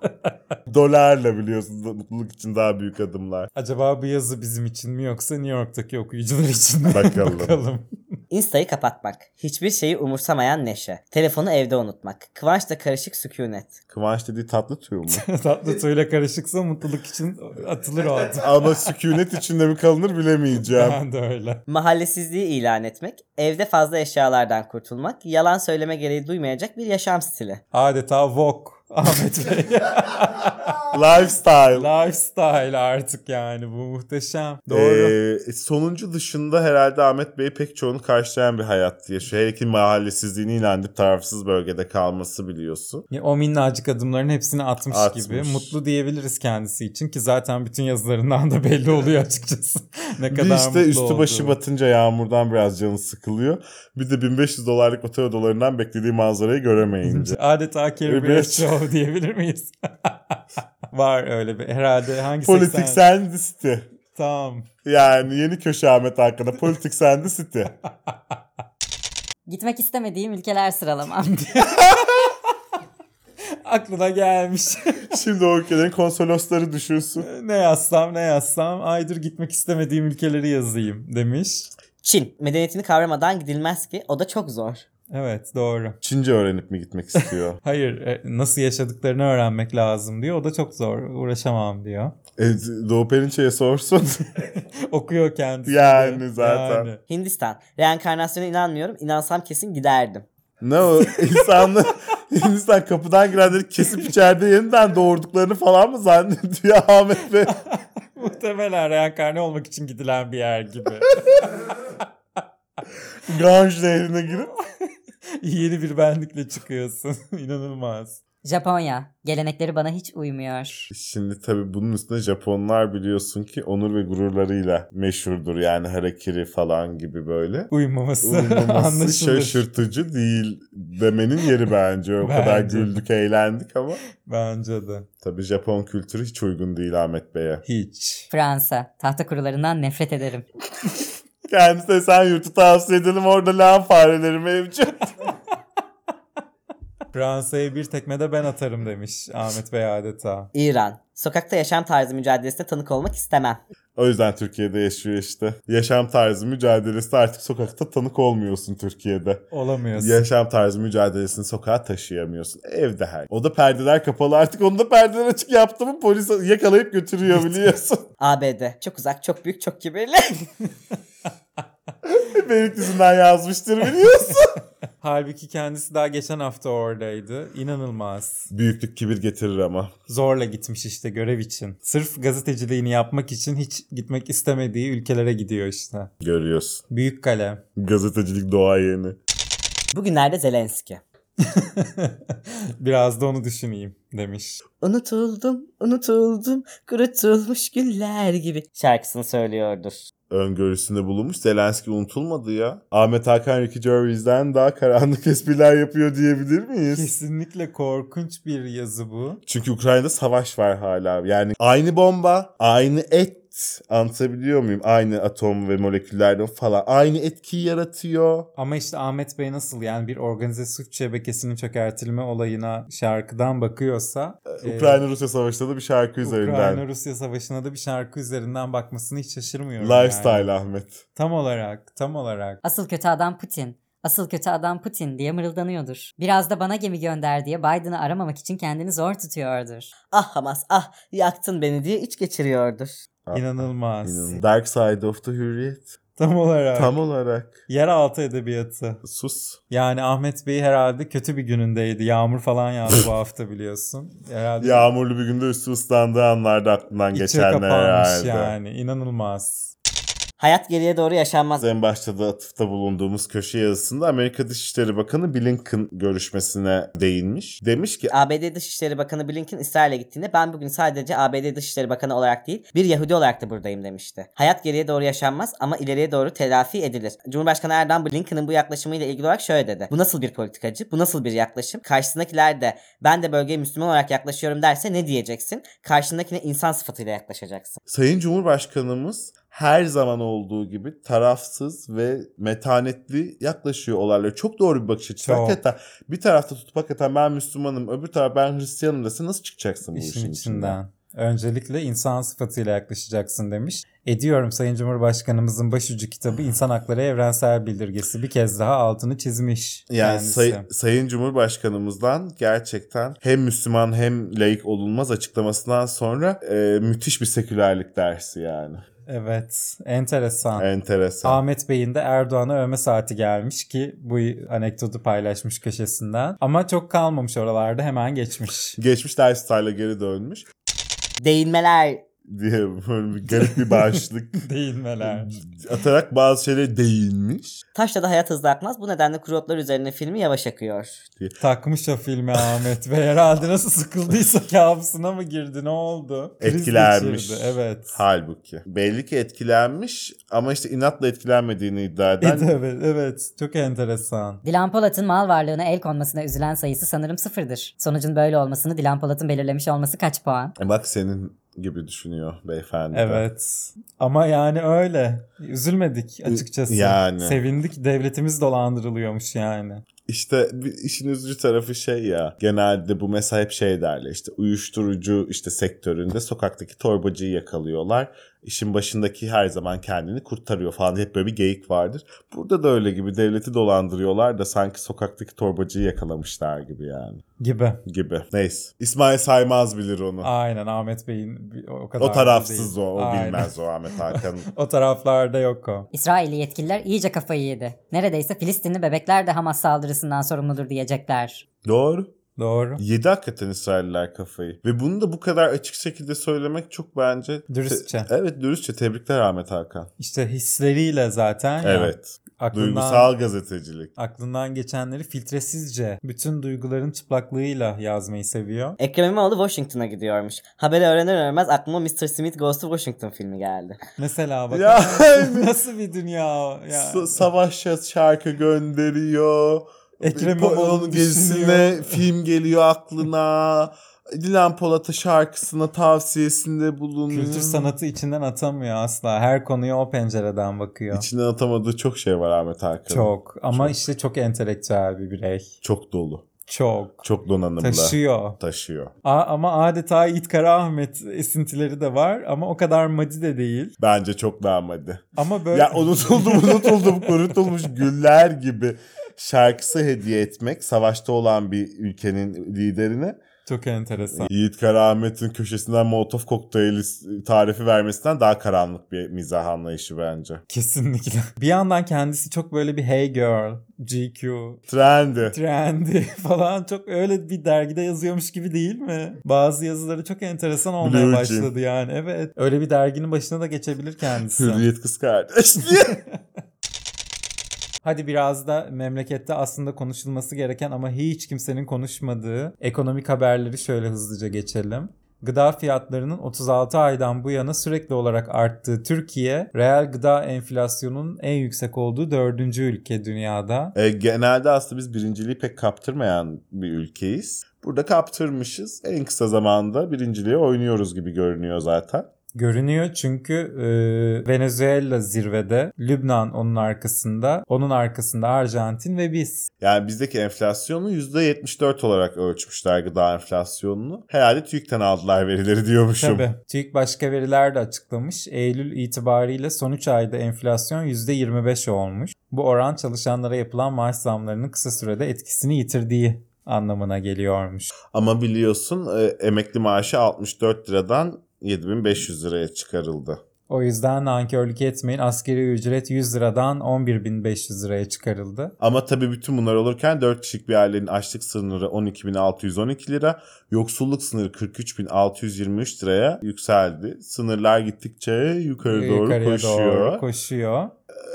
S4: Dolarla biliyorsunuz da mutluluk için daha büyük adımlar.
S3: Acaba bu yazı bizim için mi yoksa New York'taki okuyucular için mi?
S4: Bakalım.
S3: Bakalım.
S5: Insta'yı kapatmak. Hiçbir şeyi umursamayan neşe. Telefonu evde unutmak. Kıvançla karışık sükunet.
S4: Kıvanç dediği tatlı tüy mu?
S3: Tatlı suyla karışıksa mutluluk için atılır o adım.
S4: Ama sükunet içinde mi kalınır bilemeyeceğim.
S3: Ben de öyle.
S5: Mahallesizliği ilan etmek. Evde fazla eşyalardan kurtulmak. Yalan söyleme gereği duymayacak bir yaşam stili.
S3: Adeta Vogue Ahmet Bey.
S4: Lifestyle.
S3: Lifestyle artık yani bu muhteşem. Doğru.
S4: Ee, sonuncu dışında herhalde Ahmet Bey pek çoğunu karşılayan bir hayat yaşıyor. Hele ki mahallesizliğini ilan edip tarafsız bölgede kalması biliyorsun.
S3: Ya O minnacık adımların hepsini atmış,
S4: Atmış.
S3: gibi. Mutlu diyebiliriz kendisi için ki zaten bütün yazılarından da belli oluyor açıkçası. ne
S4: Bir
S3: kadar
S4: işte
S3: mutlu
S4: üstü başı
S3: olduğu.
S4: batınca yağmurdan biraz canı sıkılıyor. Bir de 1500 dolarlık otel odalarından beklediği manzarayı göremeyince.
S3: Adeta Carrie
S4: Öyle bir-
S3: Bradshaw Show diyebilir miyiz? Var öyle bir herhalde hangi
S4: Politik
S3: 80?
S4: Sandist'i.
S3: Tamam.
S4: Yani yeni köşe Ahmet hakkında Politik Sandist'i.
S1: Gitmek istemediğim ülkeler sıralamam.
S3: Aklına gelmiş.
S4: Şimdi o ülkelerin konsolosları düşünsün.
S3: ne yazsam ne yazsam aydır gitmek istemediğim ülkeleri yazayım demiş.
S5: Çin. Medeniyetini kavramadan gidilmez ki. O da çok zor.
S3: Evet doğru.
S4: Çince öğrenip mi gitmek istiyor?
S3: Hayır e, nasıl yaşadıklarını öğrenmek lazım diyor. O da çok zor uğraşamam diyor.
S4: e, Doğu Perinçe'ye sorsun.
S3: Okuyor kendisi. de.
S4: Yani zaten.
S5: Hindistan. Reenkarnasyona inanmıyorum. İnansam kesin giderdim.
S4: ne o? İnsanlar, insan kapıdan girenleri kesip içeride yeniden doğurduklarını falan mı zannediyor Ahmet Bey?
S3: Muhtemelen reenkarne olmak için gidilen bir yer gibi.
S4: Ganj nehrine girip.
S3: Yeni bir benlikle çıkıyorsun. İnanılmaz.
S1: Japonya. Gelenekleri bana hiç uymuyor.
S4: Şimdi tabii bunun üstüne Japonlar biliyorsun ki onur ve gururlarıyla meşhurdur. Yani harakiri falan gibi böyle.
S3: Uyumaması,
S4: Uyumaması
S3: anlaşılır.
S4: şaşırtıcı değil demenin yeri bence. O kadar
S3: Bence de.
S4: güldük eğlendik ama.
S3: Bence de.
S4: Tabii Japon kültürü hiç uygun değil Ahmet Bey'e.
S3: Hiç.
S1: Fransa. Tahta kurularından nefret ederim.
S4: Kendisine sen yurtu tavsiye edelim orada lan fareleri mevcut.
S3: Fransa'ya bir tekme de ben atarım demiş Ahmet Bey adeta.
S5: İran. Sokakta yaşam tarzı mücadelesine tanık olmak istemem.
S4: O yüzden Türkiye'de yaşıyor işte. Yaşam tarzı mücadelesi artık sokakta tanık olmuyorsun Türkiye'de.
S3: Olamıyorsun.
S4: Yaşam tarzı mücadelesini sokağa taşıyamıyorsun. Evde her. O da perdeler kapalı artık. Onu da perdeler açık yaptı mı polis yakalayıp götürüyor biliyorsun.
S5: ABD. Çok uzak, çok büyük, çok kibirli.
S4: Beylikdüzü'nden yazmıştır biliyorsun.
S3: Halbuki kendisi daha geçen hafta oradaydı. İnanılmaz.
S4: Büyüklük kibir getirir ama.
S3: Zorla gitmiş işte görev için. Sırf gazeteciliğini yapmak için hiç gitmek istemediği ülkelere gidiyor işte.
S4: Görüyorsun.
S3: Büyük kalem.
S4: Gazetecilik doğa yeni.
S5: Bugünlerde Zelenski.
S3: Biraz da onu düşüneyim demiş.
S5: Unutuldum, unutuldum, kurutulmuş güller gibi şarkısını söylüyordur.
S4: Öngörüsünde bulunmuş. Zelenski unutulmadı ya. Ahmet Hakan Ricky Gervais'den daha karanlık espriler yapıyor diyebilir miyiz?
S3: Kesinlikle korkunç bir yazı bu.
S4: Çünkü Ukrayna'da savaş var hala. Yani aynı bomba, aynı et anlatabiliyor muyum? Aynı atom ve moleküllerden falan. Aynı etkiyi yaratıyor.
S3: Ama işte Ahmet Bey nasıl yani bir organize suç şebekesinin çökertilme olayına şarkıdan bakıyorsa e,
S4: Ukrayna-Rusya savaşında da bir şarkı Ee, üzerinden.
S3: Ukrayna-Rusya savaşına da bir şarkı üzerinden bakmasını hiç şaşırmıyorum. yani.
S4: Lifestyle Ahmet.
S3: Tam olarak, tam olarak.
S1: Asıl kötü adam Putin. Asıl kötü adam Putin diye mırıldanıyordur. Biraz da bana gemi gönder diye Biden'ı aramamak için kendini zor tutuyordur.
S5: Ah Hamas ah yaktın beni diye iç geçiriyordur.
S3: İnanılmaz.
S4: İnanılmaz. Dark Side of the Hürriyet.
S3: Tam olarak.
S4: Tam olarak.
S3: Yeraltı edebiyatı.
S4: Sus.
S3: Yani Ahmet Bey herhalde kötü bir günündeydi. Yağmur falan yağdı bu hafta biliyorsun. Herhalde
S4: Yağmurlu bir günde üstü ıslandığı anlarda aklından
S3: içe
S4: geçenler
S3: kapanmış
S4: herhalde.
S3: yani. İnanılmaz.
S5: Hayat geriye doğru yaşanmaz.
S4: En başta da atıfta bulunduğumuz köşe yazısında Amerika Dışişleri Bakanı Blinken görüşmesine değinmiş. Demiş ki
S5: ABD Dışişleri Bakanı Blinken İsrail'e gittiğinde ben bugün sadece ABD Dışişleri Bakanı olarak değil bir Yahudi olarak da buradayım demişti. Hayat geriye doğru yaşanmaz ama ileriye doğru telafi edilir. Cumhurbaşkanı Erdoğan Blinken'ın bu yaklaşımıyla ilgili olarak şöyle dedi. Bu nasıl bir politikacı? Bu nasıl bir yaklaşım? Karşısındakiler de ben de bölgeye Müslüman olarak yaklaşıyorum derse ne diyeceksin? Karşındakine insan sıfatıyla yaklaşacaksın.
S4: Sayın Cumhurbaşkanımız her zaman olduğu gibi tarafsız ve metanetli yaklaşıyor olaylara. Çok doğru bir bakış açısı.
S3: Çok.
S4: Hakikaten bir tarafta tutup hakikaten ben Müslümanım öbür taraf ben Hristiyanım dese nasıl çıkacaksın bu işin,
S3: İşin
S4: içinden?
S3: içinden. Öncelikle insan sıfatıyla yaklaşacaksın demiş. Ediyorum Sayın Cumhurbaşkanımızın başucu kitabı İnsan Hakları Evrensel Bildirgesi bir kez daha altını çizmiş.
S4: Yani
S3: kendisi.
S4: say- Sayın Cumhurbaşkanımızdan gerçekten hem Müslüman hem laik olunmaz açıklamasından sonra e, müthiş bir sekülerlik dersi yani.
S3: Evet enteresan.
S4: Enteresan.
S3: Ahmet Bey'in de Erdoğan'a övme saati gelmiş ki bu anekdotu paylaşmış köşesinden. Ama çok kalmamış oralarda hemen geçmiş.
S4: Geçmiş lifestyle'a geri dönmüş
S5: Değinmeler
S4: diye böyle bir garip bir başlık
S3: Değinmeler.
S4: atarak bazı şeylere değinmiş.
S5: Taşla da hayat hızlı akmaz. Bu nedenle kuru otlar üzerine filmi yavaş akıyor.
S3: Takmış o filmi Ahmet Bey. Herhalde nasıl sıkıldıysa kabusuna mı girdi ne oldu? Kriz
S4: Etkilenmiş.
S3: geçirdi, Evet.
S4: Halbuki. Belli ki etkilenmiş ama işte inatla etkilenmediğini iddia eden
S3: Evet, E, evet. Çok enteresan.
S1: Dilan Polat'ın mal varlığına el konmasına üzülen sayısı sanırım sıfırdır. Sonucun böyle olmasını Dilan Polat'ın belirlemiş olması kaç puan?
S4: E bak senin gibi düşünüyor beyefendi. de.
S3: Evet. Ama yani öyle. Üzülmedik açıkçası.
S4: Yani.
S3: Sevindik. Devletimiz dolandırılıyormuş yani.
S4: İşte bir işin üzücü tarafı şey ya genelde bu mesela hep şey derler işte uyuşturucu işte sektöründe sokaktaki torbacıyı yakalıyorlar. İşin başındaki her zaman kendini kurtarıyor falan hep böyle bir geyik vardır. Burada da öyle gibi devleti dolandırıyorlar da sanki sokaktaki torbacıyı yakalamışlar gibi yani
S3: Gibi.
S4: gibi. Neyse İsmail Saymaz bilir onu.
S3: Aynen Ahmet Bey'in bir- o kadar
S4: o
S3: da
S4: tarafsız o,
S3: değil.
S4: o
S3: Aynen.
S4: bilmez o Ahmet Hakan.
S3: O taraflarda yok o.
S1: İsrailli yetkililer iyice kafayı yedi. Neredeyse Filistinli bebekler de Hamas saldırısından sorumludur diyecekler.
S4: Doğru.
S3: Doğru.
S4: Yedi hakikaten İsrailler kafayı. Ve bunu da bu kadar açık şekilde söylemek çok bence...
S3: Dürüstçe.
S4: Te- evet dürüstçe. Tebrikler Ahmet Hakan.
S3: İşte hisleriyle zaten ya,
S4: Evet.
S3: aklından,
S4: Duygusal gazetecilik.
S3: aklından geçenleri filtresizce bütün duyguların çıplaklığıyla yazmayı seviyor.
S5: Ekrem İmamoğlu Washington'a gidiyormuş. Haberi öğrenir öğrenmez aklıma Mr. Smith Goes to Washington filmi geldi.
S3: Mesela bak
S4: Ya-
S3: nasıl bir dünya o? Ya.
S4: S- Savaş yaz- şarkı gönderiyor.
S3: Ekrem
S4: Po-
S3: İmamoğlu
S4: onun gezisine
S3: düşünüyor.
S4: film geliyor aklına. Dilan Polat'a şarkısına tavsiyesinde bulunuyor.
S3: Kültür sanatı içinden atamıyor asla. Her konuya o pencereden bakıyor.
S4: İçinden atamadığı çok şey var Ahmet Hakan.
S3: çok ama
S4: Çok.
S3: işte çok entelektüel bir birey.
S4: Çok dolu.
S3: Çok.
S4: Çok donanımlı.
S3: Taşıyor.
S4: Taşıyor.
S3: A- ama adeta Yiğit Kara Ahmet esintileri de var ama o kadar madi de değil.
S4: Bence çok namadi.
S3: Ama böyle
S4: Ya unutuldum unutuldum kurutulmuş güller gibi şarkısı hediye etmek savaşta olan bir ülkenin liderine
S3: Çok enteresan.
S4: Yiğit Karaahmet'in köşesinden Molotov kokteyli tarifi vermesinden daha karanlık bir mizah anlayışı bence.
S3: Kesinlikle. Bir yandan kendisi çok böyle bir hey girl, GQ,
S4: Trendy.
S3: trendy falan çok öyle bir dergide yazıyormuş gibi değil mi? Bazı yazıları çok enteresan olmaya
S4: Blue Jean.
S3: başladı yani. Evet. Öyle bir derginin başına da geçebilir kendisi.
S4: Hürriyet kız kardeşliği.
S3: Hadi biraz da memlekette aslında konuşulması gereken ama hiç kimsenin konuşmadığı ekonomik haberleri şöyle hızlıca geçelim. Gıda fiyatlarının 36 aydan bu yana sürekli olarak arttığı Türkiye, reel gıda enflasyonunun en yüksek olduğu dördüncü ülke dünyada.
S4: E, genelde aslında biz birinciliği pek kaptırmayan bir ülkeyiz. Burada kaptırmışız. En kısa zamanda birinciliğe oynuyoruz gibi görünüyor zaten.
S3: Görünüyor çünkü e, Venezuela zirvede, Lübnan onun arkasında, onun arkasında Arjantin ve biz.
S4: Yani bizdeki enflasyonu %74 olarak ölçmüşler gıda enflasyonunu. Herhalde TÜİK'ten aldılar verileri diyormuşum.
S3: Tabii. TÜİK başka veriler de açıklamış. Eylül itibariyle son 3 ayda enflasyon %25 olmuş. Bu oran çalışanlara yapılan maaş zamlarının kısa sürede etkisini yitirdiği anlamına geliyormuş.
S4: Ama biliyorsun e, emekli maaşı 64 liradan 7500 liraya çıkarıldı.
S3: O yüzden nankörlük etmeyin. Askeri ücret 100 liradan 11.500 liraya çıkarıldı.
S4: Ama tabii bütün bunlar olurken 4 kişilik bir ailenin açlık sınırı 12.612 lira, yoksulluk sınırı 43.623 liraya yükseldi. Sınırlar gittikçe yukarı doğru
S3: Yukarıya
S4: koşuyor.
S3: doğru koşuyor.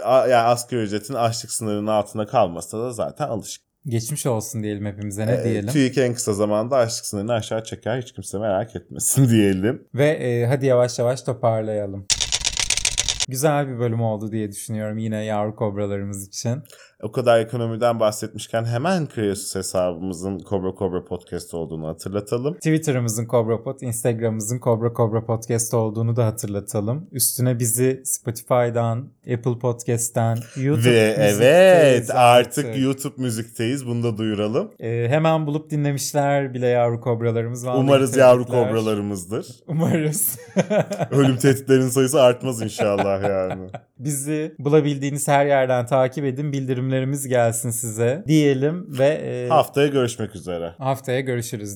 S4: A- yani asgari ücretin açlık sınırının altında kalmasa da zaten alışık.
S3: Geçmiş olsun diyelim hepimize ne
S4: Ee,
S3: diyelim.
S4: TÜİK en kısa zamanda açlık sınırını aşağı çeker hiç kimse merak etmesin diyelim.
S3: Ve e, hadi yavaş yavaş toparlayalım. Güzel bir bölüm oldu diye düşünüyorum yine yavru kobralarımız için.
S4: O kadar ekonomiden bahsetmişken hemen Kreasus hesabımızın Kobra Kobra Podcast olduğunu hatırlatalım.
S3: Twitter'ımızın Cobra Pod, Instagram'ımızın Cobra Cobra Podcast olduğunu da hatırlatalım. Üstüne bizi Spotify'dan, Apple Podcast'ten, YouTube
S4: Ve
S3: müzikteyiz
S4: evet artık YouTube müzikteyiz bunu da duyuralım.
S3: Ee, hemen bulup dinlemişler bile yavru kobralarımız. Vallahi
S4: Umarız
S3: tebrikler.
S4: yavru kobralarımızdır.
S3: Umarız.
S4: Ölüm tehditlerinin sayısı artmaz inşallah yani.
S3: Bizi bulabildiğiniz her yerden takip edin. Bildirimlerimiz gelsin size diyelim ve e,
S4: Haftaya görüşmek üzere.
S3: haftaya görüşürüz.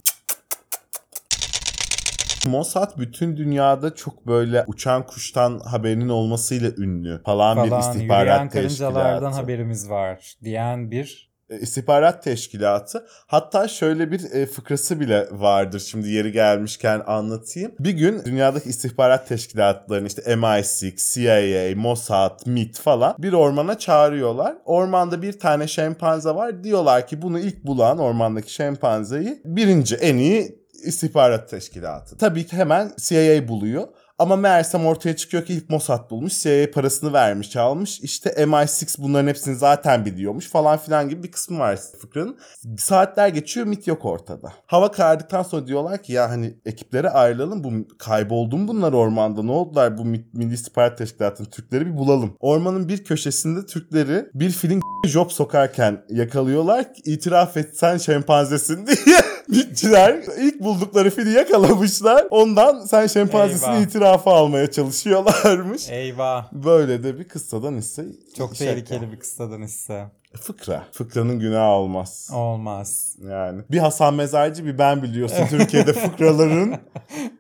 S4: Mossad bütün dünyada çok böyle uçan kuştan haberinin olmasıyla ünlü falan, bir
S3: Falan yürüyen
S4: istihbarat
S3: karıncalardan
S4: teşkilatı.
S3: haberimiz var diyen bir
S4: E, İstihbarat teşkilatı. Hatta şöyle bir e, fıkrası bile vardır şimdi yeri gelmişken anlatayım. Bir gün dünyadaki istihbarat teşkilatlarını işte MI6, CIA, Mossad, MIT falan bir ormana çağırıyorlar. Ormanda bir tane şempanze var. Diyorlar ki bunu ilk bulan ormandaki şempanzeyi birinci en iyi istihbarat teşkilatı. Tabii ki hemen CIA buluyor. Ama meğersem ortaya çıkıyor ki ilk Mossad bulmuş. CIA parasını vermiş almış. İşte MI6 bunların hepsini zaten biliyormuş falan filan gibi bir kısmı var fıkranın. Saatler geçiyor MIT yok ortada. Hava karardıktan sonra diyorlar ki ya hani ekiplere ayrılalım. Bu kayboldu mu bunlar ormanda ne oldular bu Mi- Milli İstihbarat Teşkilatı'nın Türkleri bir bulalım. Ormanın bir köşesinde Türkleri bir filin job sokarken yakalıyorlar. İtiraf etsen şempanzesin diye. Mitçiler ilk buldukları fili yakalamışlar. Ondan sen şempanzesini
S3: Eyvah.
S4: itirafa almaya çalışıyorlarmış.
S3: eyvah
S4: Böyle de bir kıssadan ise
S3: E- çok
S4: şaka.
S3: tehlikeli bir kıssadan hisse.
S4: Fıkra. Fıkranın günahı olmaz.
S3: Olmaz.
S4: Yani. Bir Hasan Mezarcı bir ben biliyorsun Türkiye'de fıkraların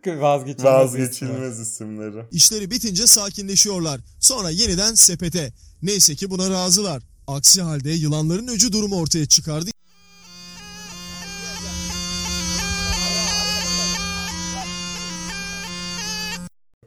S3: Vazgeçilmez. ismi.
S4: vazgeçilmez isimleri.
S2: İşleri bitince sakinleşiyorlar. Sonra yeniden sepete. Neyse ki buna razılar. Aksi halde yılanların öcü durumu ortaya çıkardı.